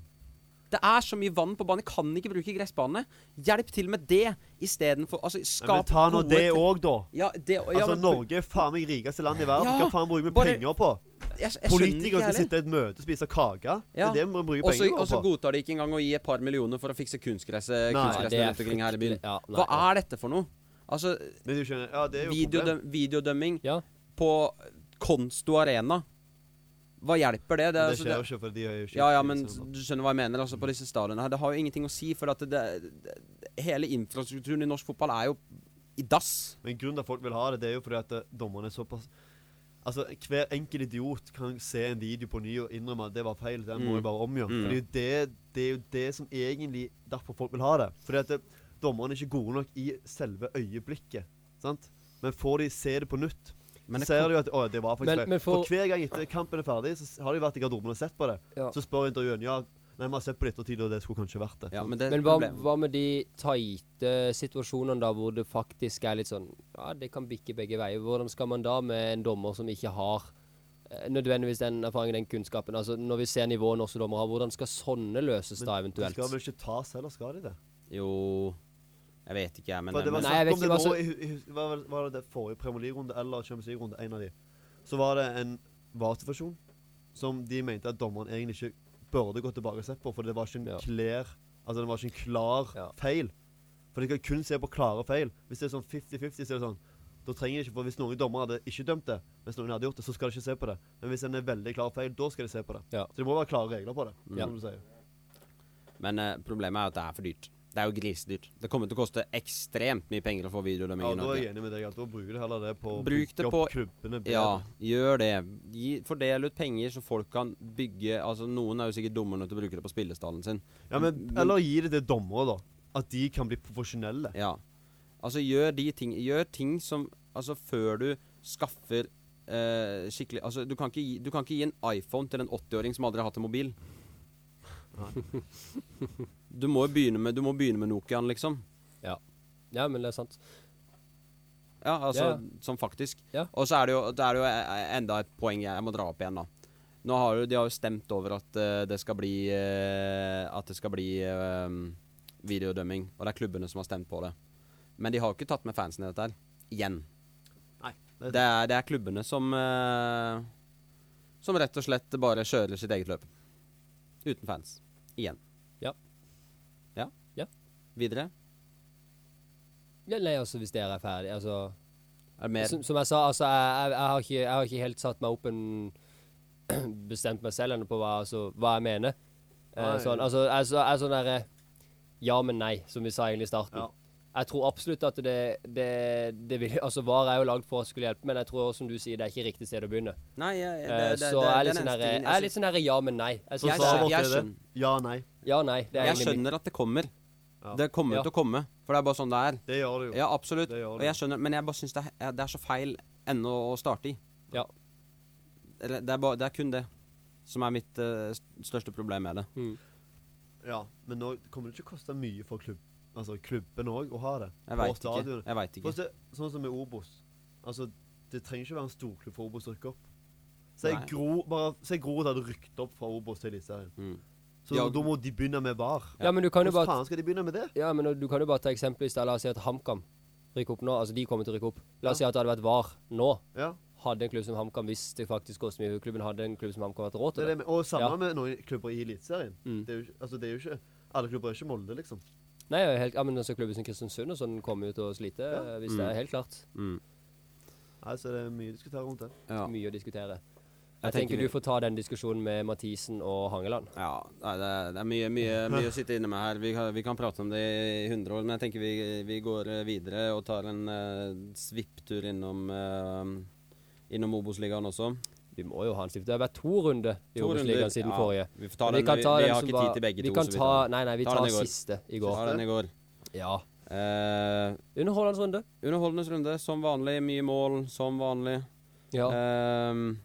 S4: Det er så mye vann på banen. Jeg kan ikke bruke gressbanene. Hjelp til med det istedenfor altså,
S6: Nei, men
S4: Skap
S6: ta nå det
S4: gode
S6: òg, da.
S4: ja, det, ja,
S6: Altså,
S4: men-
S6: Norge er faen meg rikeste land i verden.
S4: Ja,
S6: Hva faen bruker vi
S4: bare-
S6: penger på?
S4: jeg, jeg skjønner ikke
S6: Politikere skal
S4: heller.
S6: sitte i et møte og spise kake. Det
S4: Ja.
S6: er det vi bruker
S4: Og så-
S6: penger
S4: Og så
S6: på. altså.
S4: godtar de ikke engang å gi et par millioner for å fikse kunstgresset
S6: Nei,
S4: kunstgresset
S5: det er
S4: rundt omkring her i byen.
S5: fryktelig. Ja, nei,
S4: Hva er dette for noe? Altså,
S6: Men du skjønner, ja, det er jo et problem.
S4: videodøm, videodømming
S5: Ja.
S4: på Konsto Arena Hva hjelper det? er
S6: Men Det
S4: altså-
S6: skjer jo ikke, for de er jo ikke
S4: Ja, ja, men
S6: sånn.
S4: du skjønner hva jeg mener. Altså, på disse stadionene her. Det har jo ingenting å si, for at det, det, hele infrastrukturen i norsk fotball er jo i dass.
S6: Men grunnen til at folk vil ha det, det er jo fordi at eh, dommerne er såpass Altså, Hver enkelt idiot kan se en video på ny og innrømme at det var feil. Den
S5: Mm.
S6: må vi bare omgjøre. For det er, jo det, det er jo det som egentlig derfor folk vil ha det. Fordi at eh, dommerne er ikke gode nok i selve øyeblikket. sant? Men får de se det på nytt,
S4: Men det
S6: så ser de jo at å, det var faktisk
S5: Men-
S6: feil.
S5: men for-
S6: for... hver gang etter kampen er ferdig, så har de vært i garderoben og sett på det.
S5: Ja.
S6: Så spør intervjuen ja, nei, vi har sett på det i ettertid, og det skulle kanskje vært det.
S4: Ja, men det er
S5: Men hva,
S4: problemet.
S5: hva med de tighte situasjonene da hvor det faktisk er litt sånn Ja, det kan bikke begge veier. Hvordan skal man da med en dommer som ikke har eh, nødvendigvis den erfaringen, den kunnskapen? Altså, Når vi ser nivået norske dommere har, hvordan skal sånne løses da
S6: Men de
S5: eventuelt?
S6: skal vel ikke tas heller, skal de det?
S4: Jo Jeg vet ikke, jeg, men
S6: For det var
S5: eh, Nei,
S6: snakk
S5: jeg vet
S6: om
S5: ikke
S6: det
S5: hva
S6: nå
S5: som-
S6: i hu- i hu- hva var, var det det forrige Premier League-runde eller Champions League-runde, en av de. Så var det en VAR-situasjon som de mente at dommeren egentlig ikke burde gå tilbake og sett på, for det var ikke en
S5: Ja.
S6: clear Altså, det var ikke en klar
S5: Ja.
S6: feil. For de kan kun se på klare feil. Hvis det er sånn 50-50, så er det sånn Da trenger de ikke, for Hvis noen dommere hadde ikke dømt det, mens noen hadde gjort det, så skal de ikke se på det. Men hvis en er veldig klar feil, da skal de se på det.
S5: Ja.
S6: Så det må være klare regler på det.
S5: Ja.
S6: Som du sier.
S4: Men eh, problemet er at det er for dyrt. Det er jo grisedyrt. Det kommer til å koste ekstremt mye penger å få videodømming
S6: Ja,
S4: i
S6: da er
S4: Norge.
S6: jeg enig med deg. at Da bruker du heller det på å
S4: Bruk det
S6: bygge
S4: på-
S6: opp klubbene bedre.
S4: Ja, gjør det. Gi, fordel ut penger så folk kan bygge Altså, noen er jo sikkert dumme nok til å bruke det på spillestallen sin.
S6: Ja, men, eller gi det til dommere, da. At de kan bli profesjonelle.
S4: Ja. Altså, gjør de ting Gjør ting som Altså, før du skaffer eh, skikkelig Altså, du kan, ikke gi, du kan ikke gi en iPhone til en 80-åring som aldri har hatt en mobil. Du må jo begynne med Du må begynne med Nokiaen, liksom.
S5: Ja. ja, men det er sant.
S4: Ja, altså
S5: Ja.
S4: som faktisk.
S5: Ja.
S4: Og så er det, jo, det er jo eh, enda et poeng jeg, jeg må dra opp igjen, da. Nå har jo, De har jo stemt over at eh, det skal bli eh, At det skal bli eh, videodømming. Og det er klubbene som har stemt på det. Men de har jo ikke tatt med fansen i dette her. Igjen.
S6: Nei.
S4: Det er, det er klubbene som eh, Som rett og slett bare kjører sitt eget løp. Uten fans. Igjen.
S5: Ja.
S4: Ja.
S5: Ja.
S4: Videre?
S5: Ja, nei, altså, hvis dere er ferdig altså,
S4: Er det mer?
S5: som, som jeg sa, altså, jeg, jeg, jeg, har ikke, jeg har ikke helt satt meg opp en Bestemt meg selv ennå på hva, altså, hva jeg mener. Eh,
S6: Nei.
S5: sånn, altså, jeg, så, jeg er sånn derre Ja, men nei, som vi sa egentlig i starten.
S6: Ja.
S5: Jeg tror absolutt at det, det, det vil, altså VAR er jo lagd for å skulle hjelpe, men jeg tror som du sier, det er ikke riktig sted å begynne.
S4: Nei, jeg, det,
S5: Eh,
S4: det, det,
S5: så jeg er
S4: den
S5: litt sånn
S4: eneste
S5: derre-
S4: tingen-
S5: jeg er litt sånn derre ja, men nei. Jeg
S6: Så
S5: synes
S4: Jeg
S6: sa
S4: skjønner-
S5: det-
S6: dere
S4: jeg
S6: det?
S4: skjønner.
S6: Ja, nei.
S5: Ja, nei. Det er
S4: Jeg
S5: egentlig mitt-
S4: skjønner at det kommer.
S6: Ja.
S4: Det kommer
S5: Ja.
S4: til å komme. For det er bare sånn det er.
S6: Det gjør det jo.
S4: Ja, absolutt.
S6: Det gjør
S4: Og
S6: det.
S4: jeg skjønner, men jeg bare syns det, er- det er så feil ennå å starte i.
S5: Ja.
S4: Eller, Det er, bare, det er kun det som er mitt eh, største problem med det.
S6: Ja, men nå kommer det ikke å koste mye for klubb, altså klubben òg å ha det.
S4: Jeg
S6: Og
S4: veit ikke.
S6: stadionet.
S4: Jeg vet ikke.
S6: For se, sånn som med Obos. Altså, det trenger ikke være en storklubb for Obos å rykke opp. Se
S4: Nei.
S6: Gro bare, se Gro hadde rykket opp fra Obos til Eliteserien.
S4: Mm.
S6: Så
S4: Ja.
S6: da må de begynne med VAR.
S5: Ja, men du kan jo
S6: Hvordan
S5: bare
S6: faen skal de begynne med det?
S5: Ja, men du kan jo bare ta eksempel i sted. La oss si at HamKam rykker opp nå. Altså, de kommer til å rykke opp. La oss si at det hadde vært VAR nå.
S6: Ja,
S5: Hadde en klubb som HamKam, hvis det faktisk koster mye, klubben hadde en klubb som HamKam hatt råd
S6: det
S5: til
S6: er
S5: det.
S6: det med, Og samme
S5: Ja.
S6: med noen klubber i Eliteserien.
S4: Mm.
S6: Det, er jo ikke- altså, det er jo ikke Alle klubber er ikke Molde, liksom.
S5: Nei, jeg er helt, ja, men altså, klubben som Kristiansund og sånn kommer jo til å slite, eh, hvis det
S4: Mm.
S5: er helt klart.
S6: Nei, så det er mye å diskutere rundt det.
S4: Ja.
S5: Mye å diskutere. Jeg,
S4: Jeg tenker
S5: tenker
S4: vi-
S5: du får ta den diskusjonen med Mathisen og Hangeland.
S4: ja nei, det, er, det er mye, mye, mye å sitte inne med her. Vi kan, vi kan prate om det i 100 år, men jeg tenker vi, vi går eh, videre og tar en eh, svipptur innom, eh, innom Obos-ligaen også.
S5: Vi må jo ha en stift. Det har vært to runder i
S4: To
S5: Obos-ligaen
S4: runder.
S5: siden
S4: Ja,
S5: forrige.
S4: vi får ta
S5: Men
S4: den- vi- vi har
S5: som
S4: ikke tid
S5: var-
S4: til begge
S5: vi
S4: to,
S5: Kan
S4: så vi
S5: ta,
S4: tar den.
S5: nei, nei, vi
S4: Ta den
S5: tar
S4: i går.
S5: siste i
S4: Vi
S5: går.
S4: tar den i går.
S5: Ja.
S4: Eh,
S5: Underholdende runde.
S4: Underholdende runde, som vanlig. Mye mål, som vanlig.
S5: Ja.
S4: Ehm,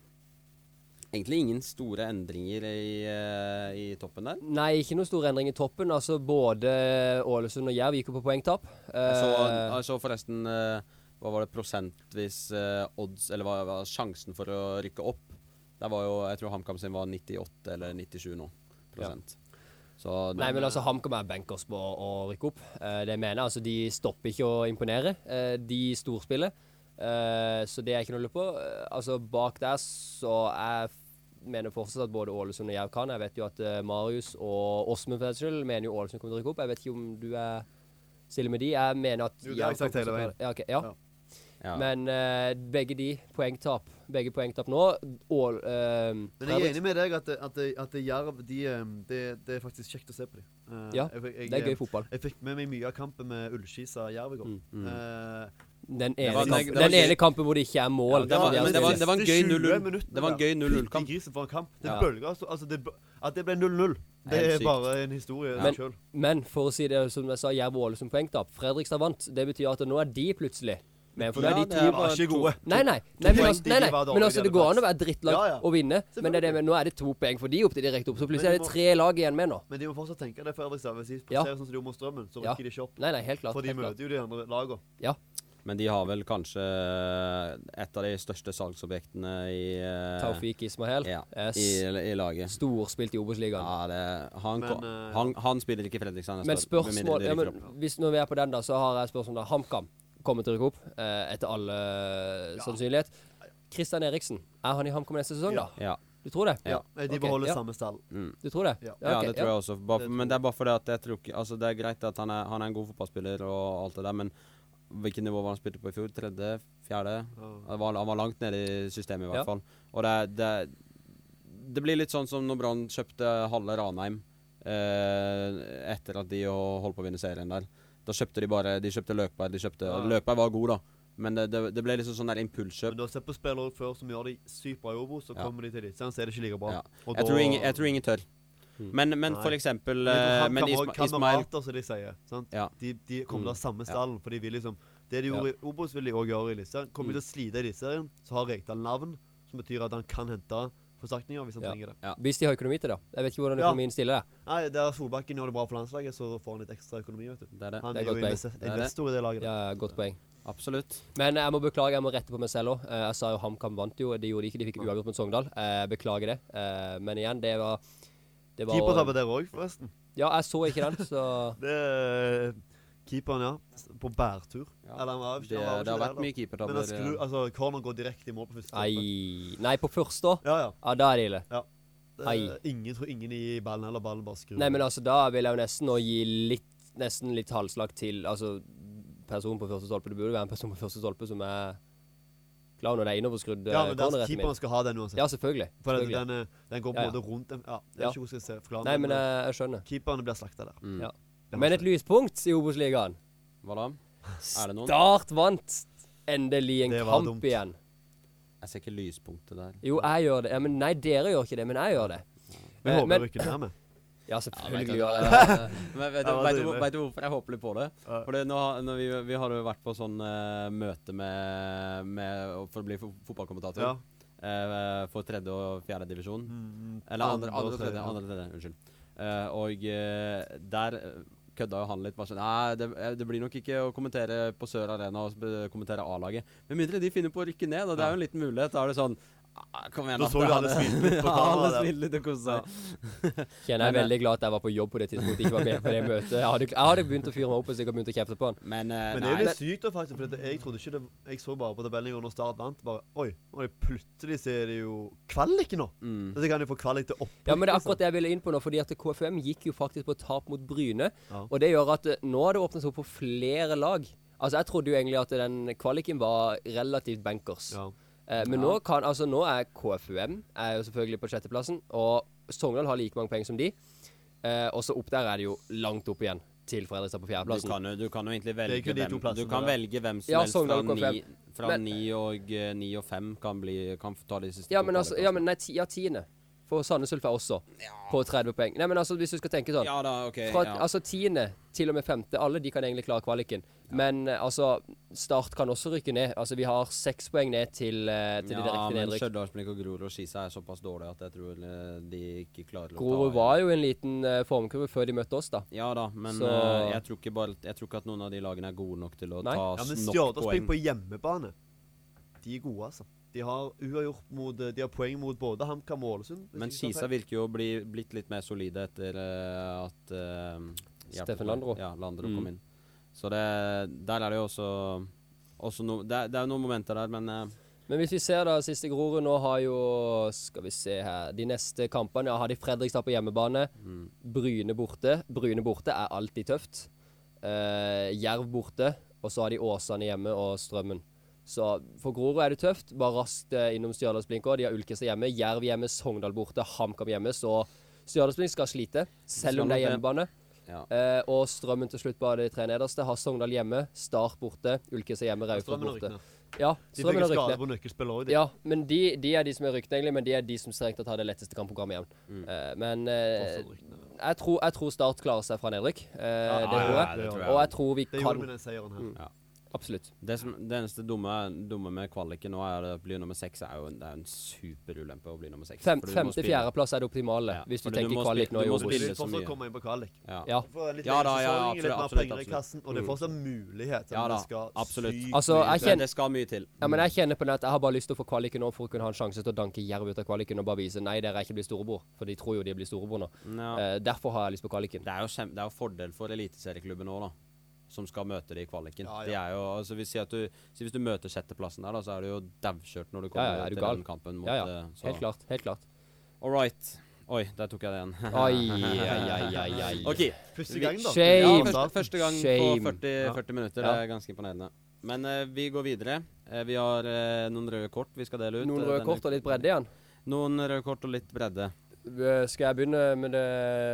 S4: egentlig ingen store endringer i, eh, i toppen der.
S5: Nei, ikke noen stor endring i toppen. Altså, Både Ålesund og Jerv gikk jo på poengtap.
S4: Jeg så,
S5: Eh,
S4: jeg så forresten eh, Hva var det prosentvis eh, odds Eller hva var sjansen for å rykke opp? Der var jo Jeg tror HamKam sin var 98 eller 97 nå. Prosent. Så
S5: nei, men altså, HamKam er bankers på å å rykke opp. Eh, det mener jeg. altså, De stopper ikke å imponere. Eh, de storspiller. Eh, så det er ikke noe å lure på. Eh, altså, Bak der så jeg f- mener fortsatt at både Ålesund og Jerv kan. Jeg vet jo at eh, Marius og Åsmund for den skyld mener jo Ålesund kommer til å rykke opp. Jeg vet ikke om du er stille med de. Jeg mener at
S6: Jo, det har
S5: Jerv kommer
S6: jeg sagt hele
S5: til å-
S6: veien.
S5: Ja, ok, ja.
S6: Ja.
S4: ja.
S5: Men eh, begge de poengtap. Begge poengtap nå. Ål, eh,
S6: Men jeg er
S5: Fredrik-
S6: enig med deg at, at, at Jerv de, em, det, det er faktisk kjekt å se på dem. Eh,
S5: Ja, det er gøy fotball. Mm,
S6: Jeg fikk med meg mye av kampen med Ullskisa Jerv i går. Eh,
S5: Den ene,
S4: var- det-
S5: kampen,
S4: det var
S5: den
S4: gøy.
S5: ene kampen hvor det ikke er mål.
S4: det var-
S5: fordi han
S4: men det var-
S5: spiller.
S4: det var en gøy
S6: 20
S4: 0-0.
S6: minuttene
S4: Det var en
S6: der.
S4: gøy 0-0-kamp.
S6: Fytti grisen for en kamp. Det
S5: Ja.
S6: bølger altså, altså det, bø- At det ble 0-0, det
S4: Helt
S6: er
S4: sykt.
S6: bare en historie i
S5: Men-
S6: seg sjøl.
S5: Men for å si det som jeg sa, Jerv og Ålesund poengtap. Fredrikstad vant. Det betyr at nå er de plutselig Men for nå
S4: Ja,
S5: er de
S4: det
S5: to
S4: er
S6: var
S4: bare
S6: ikke
S4: to-
S6: gode.
S5: Nei, nei. nei, men,
S6: poeng
S5: altså,
S6: de
S5: nei,
S6: ikke
S5: nei.
S6: var dårlige
S5: men altså, det går an å
S6: plass.
S5: være drittlag
S6: Ja, ja.
S5: og vinne, men, det er det, med- nå er det to poeng for de opp til de rykket opp. Så plutselig
S6: Men
S5: er
S6: de
S5: det
S6: må-
S5: tre lag igjen med nå.
S6: Men de må fortsatt tenke det, for Fredrikstad. Hvis de
S5: Ja.
S6: passerer sånn som de gjorde mot Strømmen, så rykker
S5: Ja.
S6: de ikke opp.
S5: Nei, nei, helt klart.
S6: For de
S5: helt klart.
S6: møter jo de andre lagene.
S5: Ja.
S4: Men de har vel kanskje eh, et av de største salgsobjektene i eh,
S5: Taufik Ismael.
S4: Ja,
S5: Yes.
S4: i, i laget.
S5: eh, Storspilt i Obos-ligaen.
S4: Ja, det, han,
S6: Men,
S4: ko-
S6: eh,
S4: han, han spiller ikke i Fredrikstad neste
S5: Men
S4: år, med mindre
S5: spørsmål
S4: de
S5: ja,
S4: rykker
S5: men hvis Når vi er på den, da, så har jeg spørsmål. da. HamKam kommer til å rykke opp, eh, etter all eh, sannsynlighet. Kristian Eriksen, er han i HamKam neste sesong,
S6: Ja.
S5: da?
S4: opp. Ja.
S5: Du tror det?
S4: Ja.
S6: Eh, De
S5: Ok,
S6: beholder
S5: ja.
S6: samme stall.
S4: Mm.
S5: Du tror det?
S6: Ja.
S4: Ja,
S5: ok,
S4: det tror jeg også. Bare,
S6: Det tror
S4: men det er bare fordi at jeg tror ikke Altså, det er greit at han er, han er en god fotballspiller og alt det der, men hvilket nivå var han spilte på i fjor? Tredje? Fjerde? Han var, han var langt nede i systemet, i hvert
S5: Ja.
S4: fall. Og det, er- det, er- det blir litt sånn som når Brann kjøpte halve Ranheim eh, etter at de og- holdt på å vinne serien der. Da kjøpte de bare De kjøpte Løkberg. De kjøpte,
S6: Ja.
S4: Løkberg var god, da, men det, det, det ble liksom sånn der impulskjøp.
S6: Men du har sett på spillere før som gjør det sykt bra i Obo, så
S4: Ja.
S6: kommer de til Eliteserien, så er det ikke like bra.
S4: Ja. Jeg
S6: Og da- Hmm.
S4: tror ingen, jeg tror ingen tør.
S5: Mm.
S4: Men, men
S6: Nei.
S4: for eksempel
S6: Men
S4: eh,
S6: han
S4: Men
S6: kamer-
S4: Isma, Ismail
S6: Kamerater, som de sier. Sant?
S4: Ja. Mm.
S6: De, de kommer til å ha samme
S4: Ja.
S6: stallen, for de vil liksom Det de gjorde i Obos, vil de òg gjøre i Eliteserien. Kommer
S4: Mm.
S6: de til å slite i Eliteserien, så har Rekdal navn, som betyr at han kan hente forsterkninger hvis han
S5: Ja.
S6: trenger det.
S4: Ja.
S5: Hvis de har økonomi til det. Jeg vet ikke hvordan
S6: Ja.
S5: økonomien stiller det.
S6: Nei, der Solbakken gjør det bra for landslaget, så får han litt ekstra økonomi, vet du.
S4: Det er det.
S6: Han
S5: Det er
S6: er jo
S5: godt poeng.
S6: invest-
S4: Det er det.
S6: investor i det laget.
S5: Ja, godt poeng.
S4: Absolutt.
S5: Men eh, jeg må beklage, jeg må rette på meg selv òg. Jeg sa jo HamKam vant jo, det gjorde de ikke. De fikk uavgjort mot Sogndal. Jeg beklager det. Eh, Men igjen, det var det var-
S6: Keepertabbe der òg, forresten.
S5: Ja, jeg så ikke den, så
S6: Det er Keeperen, ja. s- På bærtur.
S4: Ja.
S6: Eller han var jo
S4: Det,
S6: ikke han var jo
S4: det har
S6: ikke
S4: vært mye
S6: da. Men han
S4: keepertabber.
S6: skru,
S4: eh.
S6: altså, corner går direkte i mål på første kampen.
S5: Nei. Nei, på første òg.
S6: Ja, ja.
S5: Ja, da er det ille.
S6: Det,
S5: Ai.
S6: ingen tror ingen i ballen heller. Ballen bare skrur.
S5: Nei, men altså, da vil jeg jo nesten nå gi litt Nesten litt halvslag til Altså, personen på første stolpe. Det burde være en person på første stolpe som er klar når det er innoverskrudd
S6: ja,
S5: eh,
S6: men der,
S5: corner etter
S6: keeperen
S5: min.
S6: skal ha den uansett.
S5: Ja, selvfølgelig.
S6: For den,
S5: selvfølgelig.
S6: den, eh, den går på
S5: Ja,
S6: en
S5: ja.
S6: måte rundt en ja, Jeg
S5: Ja.
S6: vet ikke hvordan jeg skal forklare
S5: Nei,
S6: det,
S5: men eh, jeg, jeg skjønner.
S6: keeperne blir slakta der.
S4: Mm.
S5: Ja.
S6: Det har
S5: Men
S6: skjedd.
S5: et lyspunkt i Obos-ligaen.
S4: Hva da? Er det noen?
S5: Start vant endelig en
S6: Det var
S5: kamp
S6: dumt.
S5: igjen.
S4: Jeg ser ikke lyspunktet der.
S5: Jo, jeg gjør det. Ja, men nei, dere gjør ikke det, men jeg gjør det.
S6: Vi
S5: Eh,
S6: håper
S5: men-
S6: jo ikke det her med.
S5: Ja,
S4: vet
S5: selvfølgelig
S4: du-
S5: gjør jeg det.
S4: Men vet,
S6: Ja,
S4: du-
S6: hva
S4: vet, du,
S6: driver vi?
S4: vet du hvorfor jeg håper litt på det?
S6: Ja.
S4: For nå, har- når vi, vi har jo vært på sånn eh, møte med, med For å bli fo- fotballkommentator.
S6: Ja.
S4: eh, for tredje og fjerde divisjon.
S6: Mm,
S4: Eller andre, andre,
S6: og
S4: og tredje,
S6: tredje.
S4: andre og tredje. Unnskyld. Eh, og eh, der eh, kødda jo han litt. Bare sånn Nei, det, eh, det blir nok ikke å kommentere på Sør Arena og sp- kommentere A-laget. Med mindre de finner på å rykke ned, og det er jo en liten mulighet. Da er det sånn ah, Kom igjen,
S6: Da så du alle smile litt
S4: ja,
S6: på
S4: alle
S6: kamera der.
S4: smilte litt og koste seg.
S5: Kjenner jeg er veldig glad at jeg var på jobb på det tidspunktet, ikke var med på det møtet. Jeg hadde, jeg hadde begynt å fyre meg opp hvis jeg hadde begynt å kjefte på han.
S4: Men, eh,
S6: Men det
S4: nei,
S6: er jo litt sykt, da, faktisk. For dette- jeg trodde ikke det Jeg så bare på tabellen i går når Start vant. Bare Oi, oi plutselig så er det jo kvalik nå.
S4: Mm.
S6: Så kan de få kvalik til liksom. opprykk.
S5: Ja, men det er akkurat det jeg ville inn på nå, fordi at KFM gikk jo faktisk på tap mot Bryne.
S6: Ja.
S5: Og det gjør at eh, nå har det åpnet seg opp for flere lag. Altså, jeg trodde jo egentlig at den kvaliken var relativt bankers.
S6: Ja.
S5: Eh, men nå, kan, altså, nå er KFUM er jo selvfølgelig på sjetteplassen, og Sogndal har like mange poeng som de. Eh, og så opp der er det jo langt opp igjen, til Fredrikstad på
S4: Du
S5: fjerdeplassen.
S4: kan, jo, du kan jo egentlig
S6: er
S4: velge
S6: ikke de to
S4: hvem, du
S6: plassene
S4: kan
S6: der.
S4: velge hvem som
S5: Ja,
S4: helst
S5: Sogndal
S4: fra
S5: går fem.
S4: ni, fra
S5: Men-
S4: ni og eh, ni og fem kan, bli, kan få ta de siste
S5: Ja,
S4: to
S5: men altså, ja, men nei, ti, ja, tiende. For Sandnes Ulf er også på 30 poeng. Nei, men altså, hvis du skal tenke sånn.
S4: Ja da, ok.
S5: Fra
S4: ja.
S5: altså, tiende til og med femte, alle de kan egentlig klare kvaliken. Men eh, altså, Start kan også rykke ned. Altså, vi har seks poeng ned til, eh, til de
S4: ja,
S5: direkte
S4: men
S5: nedrykk.
S4: Stjørdalsblink og Grorud og Skisa er såpass dårlige at jeg tror eh, de ikke klarer å
S5: Grorud
S4: ta
S5: var jo en liten eh, formkurve før de møtte oss, da.
S4: Ja da, men
S5: Så-
S4: eh, jeg, tror ikke bare, jeg tror ikke at noen av de lagene er gode nok til å
S5: Nei.
S4: ta
S6: Ja, men
S4: s- nok poeng.
S6: Stjørdalsblink på hjemmebane, de er gode, altså. De har uavgjort mot De har poeng mot både HamKam og Ålesund. hvis
S4: Men
S6: ikke jeg tar
S4: Skisa virker jo å bli blitt litt mer solide etter eh, at eh, hjelp
S5: Steffen
S4: meg.
S5: Landro.
S4: Ja, Landro
S5: Mm.
S4: kom inn. Så det Der er det jo også, også no, det, er- det er jo noen momenter der, men eh,
S5: Men hvis vi ser da, siste Grorud nå har jo Skal vi se her De neste kampene ja, har de Fredrikstad på hjemmebane.
S6: Mm.
S5: Bryne borte. Bryne borte er alltid tøft. Eh, Jerv borte. Og så har de Åsane hjemme og Strømmen. Så for Grorud er det tøft. Bare raskt eh, innom Stjørdalsblink òg. De har Ulkestad hjemme, Jerv hjemme, Sogndal borte, HamKam hjemme. Så Stjørdalsblink skal slite, selv om det er
S4: Skal nok det.
S5: hjemmebane.
S4: ja.
S5: Eh, og Strømmen til slutt bare de tre nederste. Har Sogndal hjemme, Start borte, Ulkestad hjemme,
S6: feil.
S5: Raufoss
S6: Strømmen og
S5: borte.
S6: Rykne.
S5: Ja,
S6: De fikk
S5: Strømmen
S6: jo
S5: og Rykne.
S6: skade på nøkkelspillere òg, de.
S5: Ja, men de, de er de som er ryktene, egentlig, men de er de som strengt tatt har det letteste kampprogrammet igjen.
S4: Mm.
S5: Eh, men eh,
S6: Fortsatt Rykne.
S5: jeg, tror, jeg tror Start klarer seg fra nedrykk. Eh,
S6: Ja,
S5: det
S6: ja,
S5: tror
S6: ja,
S5: jeg.
S4: det tror jeg.
S5: Og jeg tror vi
S6: Det
S5: kan
S6: gjorde vi med den seieren
S4: Mm.
S6: her.
S5: Absolutt.
S4: Det, som, det eneste dumme, dumme med kvaliken nå er at å bli nummer seks er jo en, det er en superulempe å bli nummer seks.
S5: Fem,
S4: fordi du må spille-
S5: Femte-fjerdeplass er det optimale,
S4: Ja,
S5: hvis du
S4: fordi du
S5: tenker
S4: må
S5: kvalik
S4: spille-
S5: nå
S4: du
S5: i
S4: må
S6: Du
S4: spille-
S5: Obos.
S4: spiller
S6: vil
S4: så
S6: fortsatt
S4: mye.
S6: komme inn på kvalik.
S4: Ja.
S5: Ja.
S6: Du får en litt
S4: Ja
S6: lengre
S4: da, ja,
S6: sesong, litt
S4: absolutt,
S6: mer
S4: absolutt,
S6: penger i
S4: absolutt. Mm.
S6: kassen, og det er fortsatt mulighet.
S4: Ja
S6: men
S4: da,
S6: det skal
S4: absolutt.
S6: sykt
S5: Altså,
S6: mye
S5: jeg
S6: til.
S4: Det,
S5: kjenner-
S4: det skal mye til.
S5: Ja, men jeg kjenner på det at jeg har bare lyst til å få kvaliken nå for å kunne ha en sjanse til å danke Jerv ut av kvaliken og bare vise nei, dere er ikke blitt storebror, for de tror jo de blir storebror nå.
S4: Ja.
S5: Eh, derfor har jeg lyst på kvaliken.
S4: Det er jo, kjem, det er jo fordel for eliteserieklubben òg, da. Som skal møte det i kvaliken.
S6: Ja, ja.
S4: De er jo, altså, hvis, at du, si hvis du møter sjetteplassen der, da, så er du jo daukjørt når du
S5: Ja,
S4: kommer
S5: ja, er du
S4: til
S5: gal?
S4: den kampen. Mot,
S5: Ja, ja.
S4: eh, så-
S5: Helt klart. Helt klart.
S4: All right. Oi, der tok jeg det igjen.
S5: Ai, ai, ai, ai, ai.
S4: OK.
S6: Første gangen, da.
S4: Ja,
S5: Shame.
S4: Altså, første, første gang
S5: Shame.
S4: på 40, 40 minutter. Det
S5: Ja.
S4: er ganske imponerende. Men eh, vi går videre. Eh, vi har eh, noen røde kort vi skal dele ut.
S5: Noen
S4: eh,
S5: røde
S4: denne
S5: kort
S4: uka.
S5: og litt bredde igjen.
S4: Noen røde kort og litt bredde.
S5: Eh, Skal jeg begynne med det,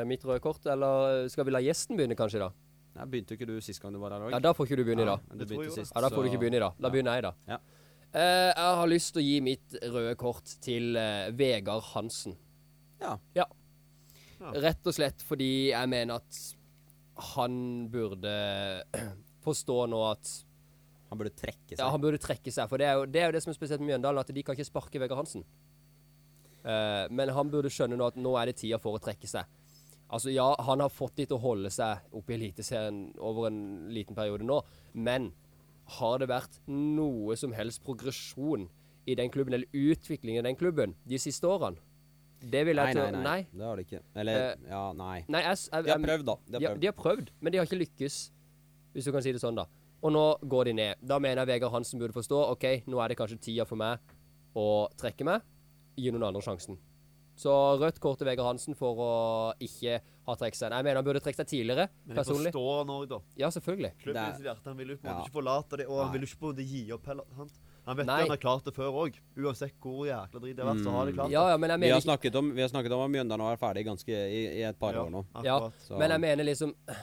S5: mitt røde kort, eller skal vi la gjesten begynne kanskje i dag?
S4: Nei, begynte ikke du sist gang du var her òg?
S5: Ja, da får ikke du begynne i dag.
S4: Du
S6: Det tror jeg
S4: begynte
S6: jo da.
S4: sist.
S5: Ja, Da får du ikke begynne i dag. Da
S4: ja.
S5: begynner jeg i dag.
S4: Ja.
S5: Eh, jeg har lyst til å gi mitt røde kort til eh, Vegard Hansen.
S4: Ja.
S5: ja.
S6: Ja.
S5: Rett og slett fordi jeg mener at han burde forstå nå at
S4: Han burde trekke seg.
S5: ja, han burde trekke seg. For det er, jo, det er jo det som er spesielt med Mjøndalen, at de kan ikke sparke Vegard Hansen. Eh, men han burde skjønne nå at nå er det tida for å trekke seg. Altså ja, han har fått de til å holde seg oppe i Eliteserien over en liten periode nå, men har det vært noe som helst progresjon i den klubben, eller utvikling i den klubben, de siste årene? Det vil
S4: nei,
S5: jeg
S4: nei,
S5: til-
S4: nei, Det har du ikke. Eller
S5: Eh,
S4: Ja, nei.
S5: Nei, jeg, s- jeg,
S4: De har
S5: jeg-
S4: prøvd, da. De har
S5: de har,
S4: prøvd.
S5: de har prøvd, men de har ikke lykkes, hvis du kan si det sånn, da. Og nå går de ned. Da mener jeg Vegard Hansen burde forstå OK, nå er det kanskje tida for meg å trekke meg. Gi noen andre sjansen. Så rødt kort til Vegard Hansen for å ikke ha trukket seg. Nei, Jeg mener han burde trukket seg tidligere,
S6: Men jeg
S5: personlig.
S6: forstår han òg, da.
S5: Ja, selvfølgelig.
S6: Klubben
S4: Det er-
S6: i sitt hjerte. Han vil jo på en
S4: Ja.
S6: måte ikke forlate det, og han
S4: Nei.
S6: vil jo ikke på en måte gi opp heller. sant? Han vet jo
S5: Nei.
S6: han har klart det før òg. Uansett hvor jækla drit det har vært, så
S4: Mm.
S6: har det klart det.
S5: Ja, ja, men jeg
S4: Vi
S5: mener
S4: har
S5: ikke
S4: snakket om, vi har snakket om at Mjøndalen har vært ferdig ganske i, i et par
S6: Ja,
S4: år nå.
S5: Ja,
S6: akkurat.
S4: Så-
S5: men jeg mener liksom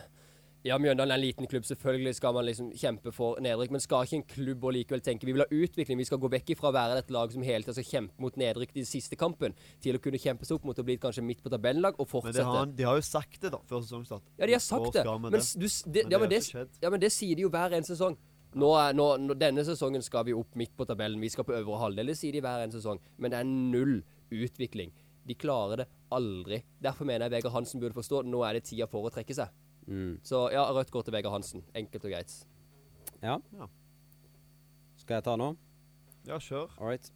S5: Ja, Mjøndalen er en liten klubb. Selvfølgelig skal man liksom kjempe for nedrykk. Men skal ikke en klubb og likevel tenke vi vil ha utvikling? Vi skal gå vekk ifra å være et lag som hele tiden skal kjempe mot nedrykk i siste kampen, til å kunne kjempe seg opp mot å bli kanskje midt på tabellag og
S6: Men
S5: fortsette.
S6: det har han, de har jo sagt det, da, før sesongstart.
S5: Ja, de har sagt
S6: Nå
S5: det.
S6: skal vi
S5: Men, s- du, s- det,
S6: Men
S5: ja,
S6: det
S5: men
S6: har
S5: det,
S6: ikke skjedd.
S5: ja, men det sier de jo hver eneste sesong. Nå er, nå, nå, denne sesongen skal vi opp midt på tabellen, vi skal på øvre halvdel. Det sier de hver eneste sesong. Men det er null utvikling. De klarer det aldri. Derfor mener jeg Vegard Hansen burde forstå nå er det tida for å trekke seg.
S4: Mm.
S5: Så ja, rødt går til Vegard Hansen. Enkelt og greit.
S4: Ja.
S6: Ja.
S4: Skal jeg ta nå?
S6: Ja, kjør.
S4: All right.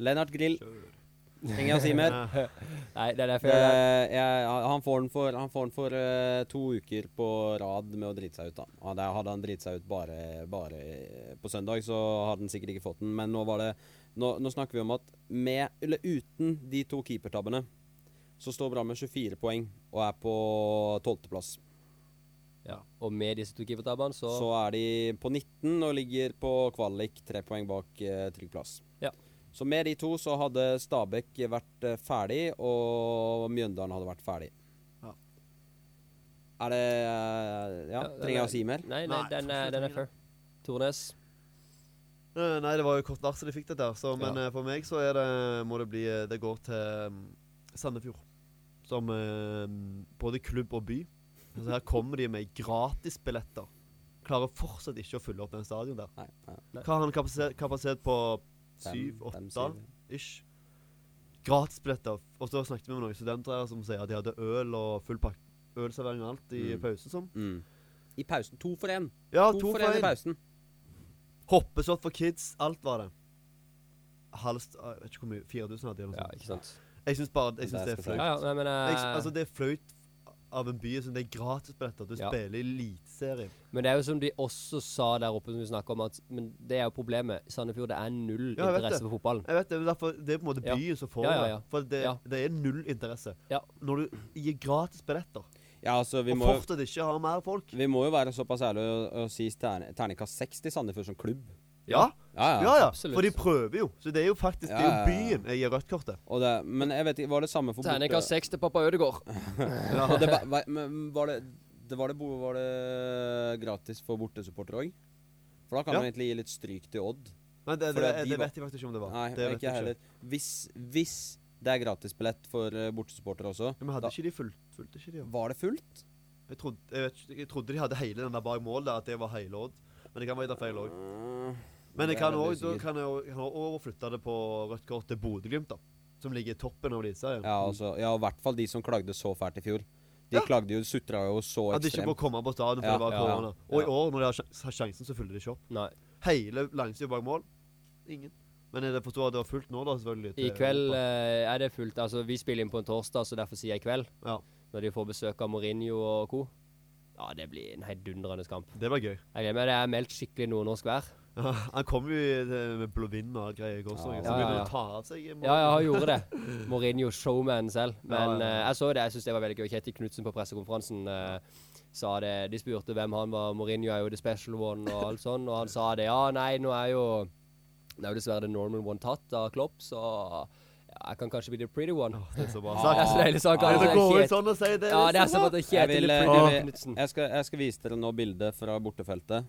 S4: Lennart Grill.
S6: Kjør.
S4: Inge og Simer.
S5: Nei, det er derfor
S4: Det,
S6: Eh,
S5: jeg
S4: Eh, jeg, han får den for, han får den for eh, to uker på rad med å drite seg ut. da. Og der hadde han driti seg ut bare, bare eh, på søndag, så hadde han sikkert ikke fått den. Men nå var det Nå, nå snakker vi om at med, eller uten de to keepertabbene, så står Brann med 24 poeng og er på tolvteplass.
S5: ja. Og med disse to keepertabbene, så,
S4: Så er de på 19 og ligger på kvalik, tre poeng bak eh, trygg plass.
S5: Ja.
S4: Så med de to så hadde Stabæk vært eh, ferdig, og Mjøndalen hadde vært ferdig.
S6: Ja.
S4: Er det eh, Ja,
S5: Ja, den
S4: trenger jeg
S5: er-
S4: å si mer?
S5: Nei, nei,
S6: Nei,
S5: den er,
S6: jeg tror ikke
S5: den
S6: jeg
S5: er fair. Tornes.
S6: Eh, Nei, det var jo kort varsel jeg fikk dette, her, så, men
S5: Ja.
S6: eh, for meg så er det, må det bli eh, Det går til mm, Sandefjord. Som eh, både klubb og by. Så her kommer de med gratisbilletter. Klarer fortsatt ikke å fylle opp den stadion der.
S4: Nei, nei,
S6: Hva har han kapasitet, kapasitet på?
S4: Fem- fem,
S6: Syv, åtte
S4: syv.
S6: ish. Gratisbilletter. Og så snakket vi med noen studenter her som sier at de hadde øl og full pakke. Ølservering og alt i
S4: Mm.
S6: pausen, sånn.
S4: Mm. I pausen. To for én.
S6: Ja,
S4: to, for én i pausen.
S6: Hoppeskott for kids. Alt var det. Halvst Jeg vet ikke hvor mye 4000 hadde de. eller noe
S5: Ja,
S6: sånt.
S5: ikke sant.
S6: Jeg syns bare jeg synes
S4: Det
S6: det
S4: skal jeg
S6: er flaut.
S5: Ja, ja, nei, men,
S6: Jeg,
S5: eh,
S6: sy- altså, det er flaut av en by som det er gratisbilletter. Du
S5: Ja.
S6: spiller i Eliteserien.
S5: men det er jo som de også sa der oppe, som vi snakket om, at men det er jo problemet. Sandefjord, det er null
S6: Ja, jeg vet
S5: interesse for
S6: det.
S5: fotballen.
S6: Jeg vet Det men derfor, det er på en måte
S5: Ja.
S6: byen som får
S5: Ja, ja,
S6: det.
S5: ja.
S6: For det,
S5: Ja.
S6: det er null interesse.
S5: Ja.
S6: Når du gir gratis billetter,
S4: Ja, altså, vi
S6: og
S4: må,
S6: fortsatt ikke har mer folk
S4: vi må jo være såpass ærlige og, og si terne- terningkast seks til Sandefjord som klubb.
S6: Ja,
S4: Ja,
S6: ja.
S4: ja.
S6: ja,
S5: absolutt.
S6: For de prøver jo. Så det er jo faktisk det er
S4: Ja,
S6: jo
S4: ja, ja.
S6: byen jeg gir rødt kortet.
S4: Og det, men jeg vet ikke, var det samme for
S5: Terningkast seks til pappa Ødegaard.
S4: Og det, var, var- men var, det, det, var, det, bo- var det gratis for bortesupportere òg? For da kan
S6: Ja.
S4: man egentlig gi litt stryk til Odd.
S6: Men det,
S4: For
S6: det,
S4: det
S6: det,
S4: er de
S6: vet jeg faktisk ikke om det var.
S4: Nei,
S6: det vet
S4: ikke
S6: jeg
S4: heller. Hvis, hvis det er gratisbillett for eh, bortesupportere også,
S6: Ja, Men hadde
S4: da-
S6: ikke de fulgt, fulgte ikke de? opp?
S4: var det fullt?
S6: Jeg trodde, jeg, vet, ikke- jeg trodde de hadde hele den der bak målet, at det var hele Odd. Men det kan være det er feil òg. Men jeg
S4: Mm. Det er
S6: kan
S4: veldig
S6: også, da
S4: usikkert.
S6: kan jeg også- kan jeg overflytte det på rødt kort til Bodø-Glimt, da. Som ligger i toppen av Eliteserien.
S4: Ja, altså, ja, i hvert fall de som klagde så fælt i fjor. De klagde jo, sutra jo så
S6: At de ikke får
S4: ekstremt.
S6: komme på stadion fordi
S4: Ja,
S6: det var
S4: ja,
S6: korona. Og i
S4: ja.
S6: år, når de har sjan- har sjansen, så fyller de ikke opp.
S5: Nei.
S6: Hele langsida bak mål. Ingen. Men jeg forstår at det var fullt nå, da, selvfølgelig.
S5: I
S6: til-
S5: kveld eh, er det fullt. Altså, vi spiller inn på en torsdag, så derfor sier jeg i kveld.
S6: Ja.
S5: Når de får besøk av Mourinho og co. Ja, det blir en heidundrende kamp.
S6: Det var gøy.
S5: eh, Jeg gleder meg. Det er meldt skikkelig nordnorsk vær.
S6: Ja, han kom jo i det- med blåvind og greier i går, så
S4: Ja.
S6: så begynner
S5: Ja, ja,
S6: han å ta av seg. i morgen.
S5: Ja, ja, han gjorde det. Mourinho, showman selv. Men
S6: Ja, ja, ja.
S5: eh, jeg så det, jeg syns det var veldig gøy. Kjetil Knutsen på pressekonferansen eh, sa det. De spurte hvem han var. Mourinho er jo the special one og alt sånn, og han sa det. Ja, nei, nå er jo Det er jo dessverre the normal one tatt av Klopp, så ja, jeg kan kanskje bli the pretty one.
S6: Åh, Det er så bra
S5: Ja, det er så
S6: sagt.
S5: deilig sagt.
S6: Kan
S5: altså,
S6: det gå
S5: Kjet-
S6: ut sånn og si det?
S5: Ja, det er som at det er
S4: Jeg,
S5: Kjetil
S4: vil, eh, jeg,
S5: the pretty
S4: vil,
S5: Knutsen.
S4: jeg, skal, jeg skal vise dere nå bildet fra bortefeltet.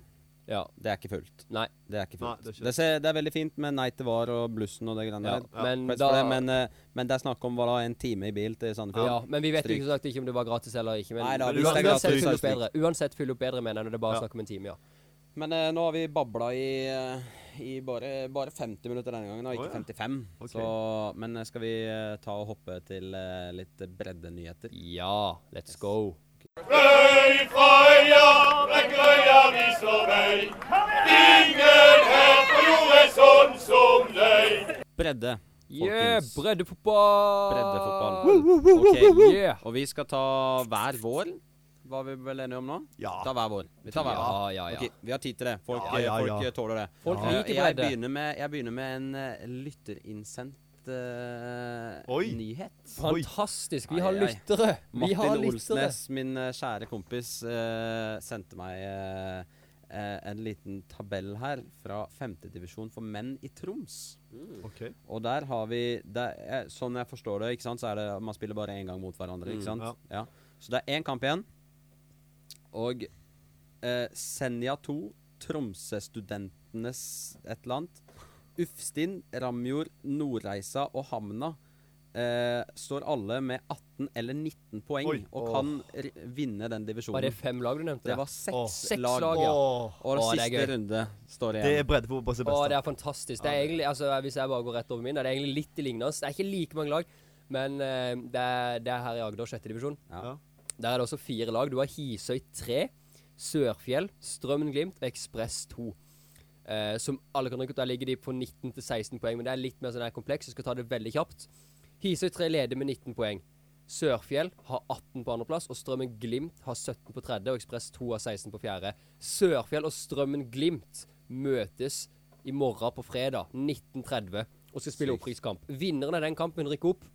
S5: Ja.
S4: Det er ikke fullt.
S5: Nei.
S4: Det er ikke
S6: Nei,
S4: fullt.
S6: det er
S4: det,
S6: ikke-
S4: ser, det er veldig fint med nei til var og blussen og det greiene
S5: Ja,
S4: der.
S5: men
S4: Press
S5: da
S4: for det, men, eh, men det er snakk om hva da, en time i bil til Sandefjord.
S5: ja, men vi vet jo
S4: Stryk.
S5: ikke, som sagt, ikke om det var gratis eller ikke. Men
S4: Nei da,
S5: men
S6: hvis det er
S5: uansett
S6: gratis,
S5: fyll
S6: så
S4: er
S5: opp
S4: det
S5: bedre. Uansett fyll opp bedre, mener jeg, når det bare er
S6: Ja.
S5: snakk om en time, ja.
S4: Men eh, nå har vi babla i, eh, i bare, bare 50 minutter denne gangen, og
S6: Å,
S4: ikke
S6: ja.
S4: 55.
S6: Ok.
S4: Så, men eh, skal vi eh, ta og hoppe til eh, litt breddenyheter?
S5: Ja, let's go.
S3: Røy fra øya, rekk øya vi slår vei. Ingen her på jord er sånn som deg.
S4: Bredde,
S5: Yeah,
S4: folkens.
S5: breddefotball!
S4: Breddefotball. Ok,
S5: Yeah.
S4: Og vi skal ta hver vår, var vi vel enige om nå?
S6: Ja.
S4: Ta hver vår. Vi tar hver vår.
S5: Ja, ja, ja.
S4: Ok, vi har tid til det. Folk,
S6: Ja, ja, ja.
S4: folk eh, tåler det.
S5: Folk
S4: Eh,
S5: liker
S4: jeg,
S5: bredde.
S4: begynner med, jeg begynner med en eh, lytterinnsendt eh,
S6: Oi.
S4: nyhet.
S5: Fantastisk. Vi
S4: Ai,
S5: har
S4: ai, ai.
S5: lyttere. Vi har
S4: Martin
S5: lyttere.
S4: Olsnes, min eh, kjære kompis, eh, sendte meg eh, eh, en liten tabell her fra femtedivisjon for menn i Troms.
S6: Ok.
S4: Og der har vi der, eh, Sånn jeg forstår det, ikke sant, så er det man spiller bare én gang mot hverandre. ikke sant?
S6: Mm, ja.
S4: Ja. Så det er én kamp igjen. Og eh, Senja 2, Tromsø-studentenes et eller annet, Ufstin, Ramjord, Nordreisa og Hamna eh, står alle med 18 eller 19 poeng
S6: Oi.
S4: og kan r vinne den divisjonen.
S5: Var det fem lag du nevnte?
S4: Det var
S5: der?
S6: Åh.
S4: seks
S5: Seks
S4: lag,
S5: lag,
S4: ja.
S6: Åh,
S4: Og
S5: Åh, det er
S4: siste
S5: gøy.
S4: runde står igjen.
S6: Det er breddefotball som
S5: Å,
S6: er best.
S5: det
S6: da.
S5: er fantastisk. Det er egentlig, altså, Hvis jeg bare går rett over min, det er egentlig litt lignende. Det er ikke like mange lag, men eh, det, er, det er her i Agder, sjette divisjon.
S4: Ja.
S5: Der er det også fire lag. Du har Hisøy 3, Sørfjell, Strømmen Glimt, Ekspress 2. Eh, som alle kan rykke ut. Der ligger de på 19 til 16 poeng, men det er litt mer sånn her kompleks. Jeg skal ta det veldig kjapt. Hisøy 3 leder med 19 poeng. Sørfjell har 18 på andreplass, og Strømmen Glimt har 17 på tredje, og Ekspress 2 har 16 på fjerde. Sørfjell og Strømmen Glimt møtes i morgen på fredag 19.30 og skal spille
S4: Sykt.
S5: opprykkskamp. Vinneren av den kampen rykker opp.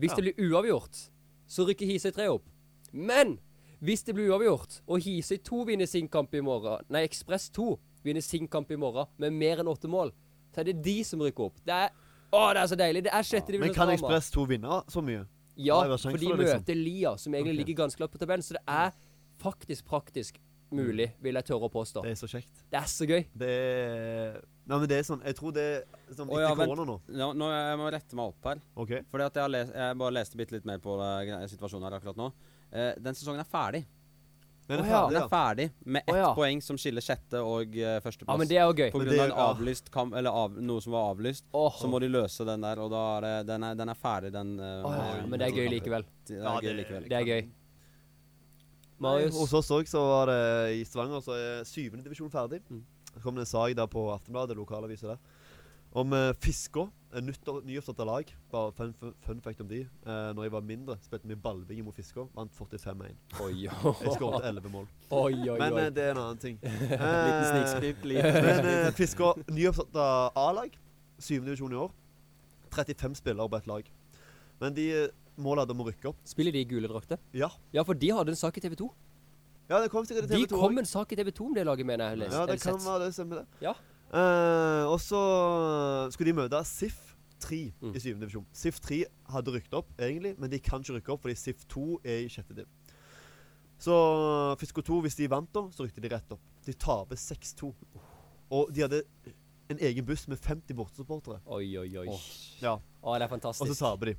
S5: Hvis det blir uavgjort, så rykker Hisøy 3 opp. Men hvis det blir uavgjort, og Hisøy 2 vinner sin kamp i morgen Nei, Ekspress 2 vinner sin kamp i morgen med mer enn åtte mål, så er det de som rykker opp. Det er, å, det er så deilig! Det er sjette
S6: Men
S5: divisjon
S6: kan
S5: drama.
S6: Ekspress 2 vinne så mye?
S5: Ja,
S6: Nei, hva er sjansen
S5: for de
S6: for det, liksom?
S5: møter Lia, som egentlig
S6: Ok.
S5: ligger ganske langt på tabellen. Så det er faktisk praktisk mulig, vil jeg tørre å påstå.
S6: Mm. Det er så kjekt.
S5: Det er så gøy.
S6: Det er Nei, men det er sånn Jeg tror det er sånn
S4: Å, ja,
S6: etter korona nå.
S4: Nå, nå jeg må rette meg opp her.
S6: OK?
S4: Fordi at jeg, har les, jeg bare leste bitte litt mer på eh, gre- situasjonen her akkurat nå. Eh, den sesongen er ferdig.
S5: Å,
S6: Den er
S4: Den er
S5: ja.
S6: ferdig, ja.
S4: ferdig med ett
S5: Å, ja.
S4: poeng som skiller sjette og eh, førsteplass.
S5: Ja, men det er jo gøy.
S4: På
S6: Men
S4: grunn av
S6: det-
S4: en
S6: ja.
S4: avlyst kamp, eller av, noe som var avlyst,
S5: Åh.
S4: så må de løse den der, og da er det, den, er, den er ferdig, den. eh,
S5: Å, ja,
S4: med-
S5: men det er gøy likevel.
S4: Det er
S6: Ja,
S4: gøy
S6: det-
S4: likevel.
S5: Det er gøy. Marius.
S6: Hos oss òg så var det i Stavanger så er syvende divisjon ferdig. Så kom det en sak der på Aftenbladet, lokalavisa der, om eh, Fiskå. eh, nytt- Nyoppstarta lag. Bare fun, fun, fun fact om de. Eh, når jeg var mindre, spilte vi ballbing mot Fiskå. Vant 45-1.
S5: Oi,
S6: Jeg
S5: oi,
S6: skåret 11 mål.
S5: oi.
S6: Men
S5: oi.
S6: eh, det er en annen ting.
S4: Liten
S6: Eh,
S4: snikskritt. liten-
S6: Men eh, Fiskå, nyoppsatta A-lag, syvende divisjon i år. 35 spillere på ett lag. Men de eh, målet hadde om å rykke opp.
S5: Spiller de i gule drakter?
S6: Ja,
S5: Ja, for de hadde en sak i TV 2.
S6: ja det kom sikkert i
S5: De
S6: TV 2
S5: kom med en sak i TV 2 om det laget, mener jeg. eller-
S6: Ja,
S5: eller
S6: det kan
S5: sett.
S6: være det. Stemmer det.
S5: Ja.
S6: Eh, og så eh, skulle de møte SIF 3
S5: Mm.
S6: i syvende divisjon. SIF 3 hadde rykket opp, egentlig, men de kan ikke rykke opp fordi SIF 2 er i sjette div. Så Fisko 2, hvis de vant da, så rykte de rett opp. De taper 6-2. Og de hadde en egen buss med 50 bortesupportere.
S5: Oi, oi, oi.
S6: Ja.
S5: Å, det er
S6: Og så
S5: fantastisk.
S6: taper de.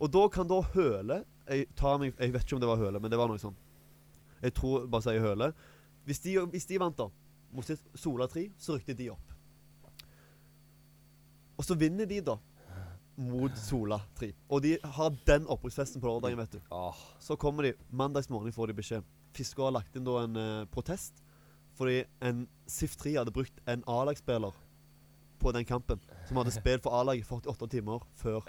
S6: Og da kan da Høle jeg, tar meg, jeg vet ikke om det var Høle, men det var noe sånn. Jeg tror bare sier Høle. Hvis de, hvis de vant, da, mot sitt Sola 3, så rykte de opp. Og så vinner de, da, mot Sola 3. Og de har den opprykksfesten på lørdagen, vet du.
S5: Åh.
S6: Så kommer de mandags morgen får de beskjed. Fisker har lagt inn da en eh, protest fordi en SIF 3 hadde brukt en A-lagsspiller på den kampen, som hadde spilt for A-laget 48 timer før.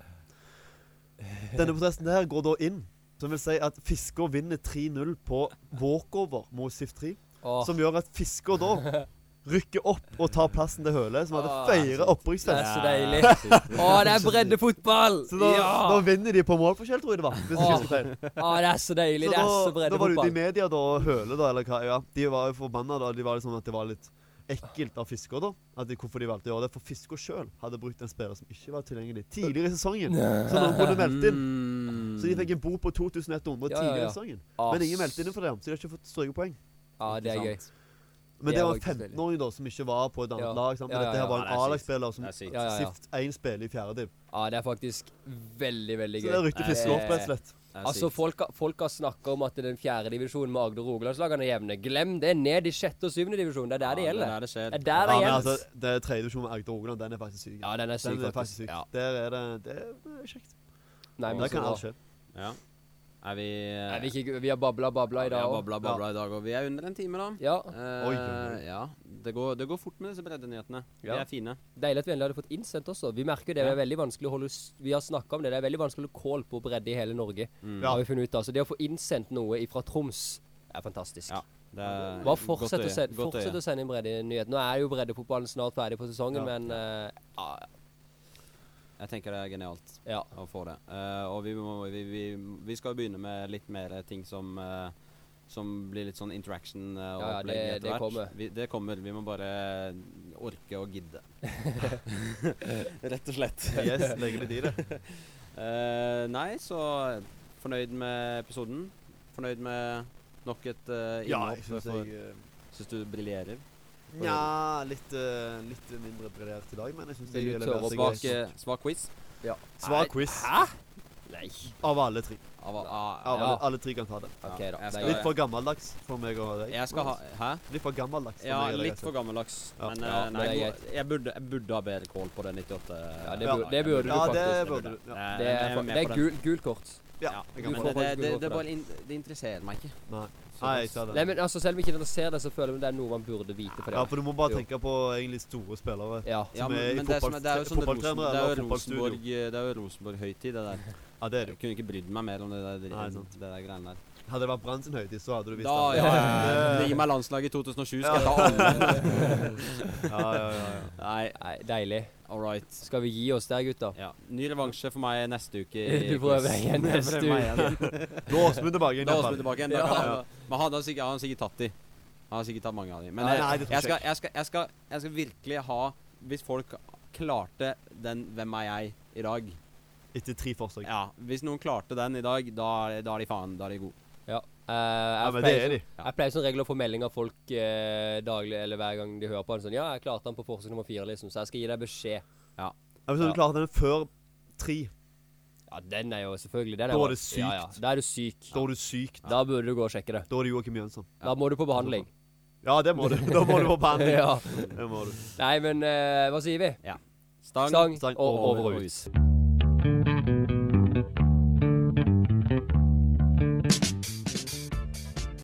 S6: Denne protesten her går da inn, som vil si at Fisker vinner 3-0 på walkover mot SIF 3,
S5: Åh.
S6: som gjør at Fisker da rykker opp og tar plassen til Høle, som hadde
S5: Ah,
S6: feira
S5: Det er
S6: opprykksfest.
S5: så deilig. Å, det er breddefotball!
S6: Så da,
S5: ja!
S6: da vinner de på målforskjell, tror jeg det var. Hvis jeg
S5: Åh,
S6: ikke husker feil.
S5: Å, Ah, det er så deilig.
S6: Så
S5: Det er så
S6: da, da var det ute i
S5: breddefotball.
S6: media da, og Høle, da, eller hva. Ja, de var jo forbanna da. De var liksom at det var litt ekkelt av Fisker, da. At de, hvorfor de valgte å gjøre det. For Fisker sjøl hadde brukt en spiller som ikke var tilgjengelig tidligere i sesongen. Så noen
S5: Mm.
S6: kunne meldt inn.
S4: Mm.
S6: Så de fikk en bot på 2100
S5: Ja, ja,
S6: tidligere
S5: ja.
S6: i sesongen.
S5: Ah,
S6: Men ingen meldte inn for det, så de har ikke fått strøkepoeng.
S5: Ja, det er gøy.
S6: Men
S5: Det
S6: det
S5: er
S6: var en
S5: faktisk veldig.
S6: 15-åring da som ikke var på et annet
S5: Ja.
S6: lag. Sant? Men
S5: Ja, ja,
S6: dette her
S5: ja.
S6: var
S4: Ja, det
S6: en
S4: er sykt.
S6: A-lagsspiller som
S4: Det er sykt.
S5: Ja, ja, ja.
S6: sift én spiller i fjerde div.
S5: Ja, Ah, det er faktisk veldig, veldig
S6: Så
S5: gøy. Eh,
S6: det rykte
S4: Nei,
S6: Fisker opp, rett og slett.
S4: Det er
S5: Altså,
S4: sykt.
S5: folk, har- folk har snakka om at den fjerde divisjonen med Agder- og Rogalandslagene er jevne. Glem det! Ned i sjette og syvende divisjon. Det er der det
S4: Ja,
S5: gjelder.
S4: er der det skjer.
S5: Det er der
S6: Ja,
S5: det
S6: men
S5: gjelder.
S6: altså, det er tredje divisjon med Agder og Rogaland. Den er faktisk syk.
S5: Ja, den er syk,
S6: Den er
S5: faktisk.
S6: faktisk syk.
S5: Ja.
S6: Der er det Det er kjekt.
S5: Nei, men
S6: Der
S5: så
S6: kan
S5: bra.
S6: alt skje.
S4: Ja. Er vi eh,
S5: Nei, vi, ikke, vi har babla, babla i
S4: Vi
S5: dag
S4: har
S5: òg.
S4: babla, babla i dag, og vi er under en time, da.
S5: Ja.
S4: Eh,
S6: Oi, oi, oi.
S4: ja. Det går, det går fort med disse breddenyhetene. De
S5: Ja.
S4: er fine.
S5: Deilig at vi endelig hadde fått innsendt også. Vi merker jo det, det er veldig vanskelig å holde s- Vi har snakka om det, det er veldig vanskelig å holde kål på bredde i hele Norge.
S6: Ja.
S5: Har vi funnet ut av. Så det å få innsendt noe fra Troms er fantastisk.
S4: Ja. Det er
S5: Bare fortsett,
S4: godt
S5: å,
S4: øye,
S5: sende,
S4: godt øye.
S5: fortsett å sende inn breddenyhet. Nå er jo breddefotballen snart ferdig på sesongen,
S6: Ja.
S5: men eh, ja,
S4: Jeg tenker det er genialt
S5: ja.
S4: å få det. Eh, og vi, må, vi, vi, vi skal begynne med litt mer ting som eh, som blir litt sånn interaction eh, og
S5: Ja, ja, det-
S4: opplegg etter
S5: det
S4: hvert.
S5: kommer.
S4: Vi, det kommer. Vi må bare orke og gidde. Rett og slett.
S6: Yes, legger litt i det.
S4: Eh, nei, så fornøyd med episoden. Fornøyd med nok et uh,
S6: Ja,
S4: innhopp.
S6: jeg syns
S4: for-
S6: jeg eh,
S4: syns du briljerer.
S6: Nja, litt, eh, litt mindre briljert i dag, men jeg syns
S5: Vil
S6: jeg
S5: du tørre å
S6: leverer seg
S4: Svak,
S6: greit.
S4: eh, svak quiz.
S5: Nei,
S6: Svak quiz
S5: Nei.
S6: av alle tre.
S4: Av, av, av,
S6: Av alle, alle tre kan ta det.
S5: OK, da.
S4: Jeg skal-
S5: Det er
S6: Litt
S5: greit.
S6: for gammeldags for meg og deg.
S4: Jeg skal ha Hæ?
S6: Litt for gammeldags.
S4: Ja,
S6: meg og deg,
S4: litt for
S6: altså.
S4: gammeldags.
S6: Ja.
S4: Men
S5: Ja,
S4: eh, nei,
S5: det er
S4: god- jeg burde, jeg burde ha bedre kål på det 98.
S5: Ja, det
S4: eh,
S5: burde- det burde du
S6: Ja, det
S5: faktisk.
S6: burde du. Ja,
S4: Eh,
S5: Det
S4: jeg med
S5: er, fa- det
S4: på
S5: er gul, gult kort.
S4: Ja,
S6: ja,
S5: du
S6: jeg kan
S4: Men
S5: får
S4: det, det,
S5: faktisk
S6: få
S4: det, det,
S5: gul kort
S4: er
S5: for
S4: bare in, det interesserer meg ikke.
S6: Nei, Nei, jeg sa
S5: Nei,
S6: det.
S5: men altså, selv om ikke den ser det, så føler jeg det er noe man burde vite. For det.
S6: Ja, for du må bare
S5: Jo.
S6: tenke på egentlig store spillere.
S5: Ja.
S4: Ja,
S6: Som
S4: men,
S6: er i
S4: men det, er som, er- det er jo sånn
S6: fotball-
S4: Rosen,
S6: fotballtrenere
S4: det er jo
S6: eller fotballstudio.
S4: Rosenborg eh, Det er jo Rosenborg-høytid, det der.
S6: Ja, det er det
S4: Jeg kunne ikke brydd meg mer om det der,
S6: Nei,
S4: det
S6: sant.
S4: der greiene der.
S6: jo. Hadde det vært Brann sin høytid, så hadde du visst
S4: Da,
S6: det.
S4: ja, ja. Gi meg landslaget i 2007, skal jeg ta alle.
S6: ja, ja, ja, ja.
S4: Nei,
S5: Nei, deilig.
S4: all right.
S5: Skal vi gi oss der, gutta?
S4: Ja. Ny revansje for meg neste uke. i
S5: Du prøver
S4: quiz.
S5: igjen
S4: Jeg prøver
S5: neste
S4: meg igjen.
S6: Da er Åsmund tilbake. igjen,
S4: Da er
S6: i hvert
S4: Åsmund
S6: fall.
S4: tilbake igjen. Da kan han- Men han har sikkert, han har sikkert tatt de. Han har sikkert tatt mange av de. Men
S6: Nei,
S4: jeg,
S6: nei, det tror
S4: jeg,
S6: jeg
S4: skal, jeg, skal, jeg, skal, jeg skal virkelig ha Hvis folk klarte den 'Hvem er jeg?' i dag
S6: Etter tre forsøk. Ja,
S4: Ja, Hvis noen klarte den i dag, da, er- da er de faen Da er de gode.
S5: Ja. Eh, jeg,
S6: men det
S5: pleier,
S6: er de.
S5: jeg pleier som regel å få melding av folk eh, daglig eller hver gang de hører på. den, Sånn, ja, jeg klarte den på forsøk nummer fire, liksom, så jeg skal gi deg beskjed.
S6: Ja, hvis du
S4: Ja.
S6: klarer den før tre,
S5: Ja, den er jo selvfølgelig den
S6: Da
S5: jo-
S6: er det sykt.
S5: Ja, ja. Da er du syk.
S6: da er du syk.
S5: Da burde du gå og sjekke det.
S6: Da er det Joakim Jønsson.
S5: Da må du på behandling.
S6: Ja, det må du. Da må du på behandling.
S5: ja.
S6: Det må du.
S5: Nei, men eh, hva sier vi?
S4: Stang.
S5: Sang
S6: Sang
S5: og
S6: over
S5: over
S6: og
S5: og
S6: ut.
S5: ut.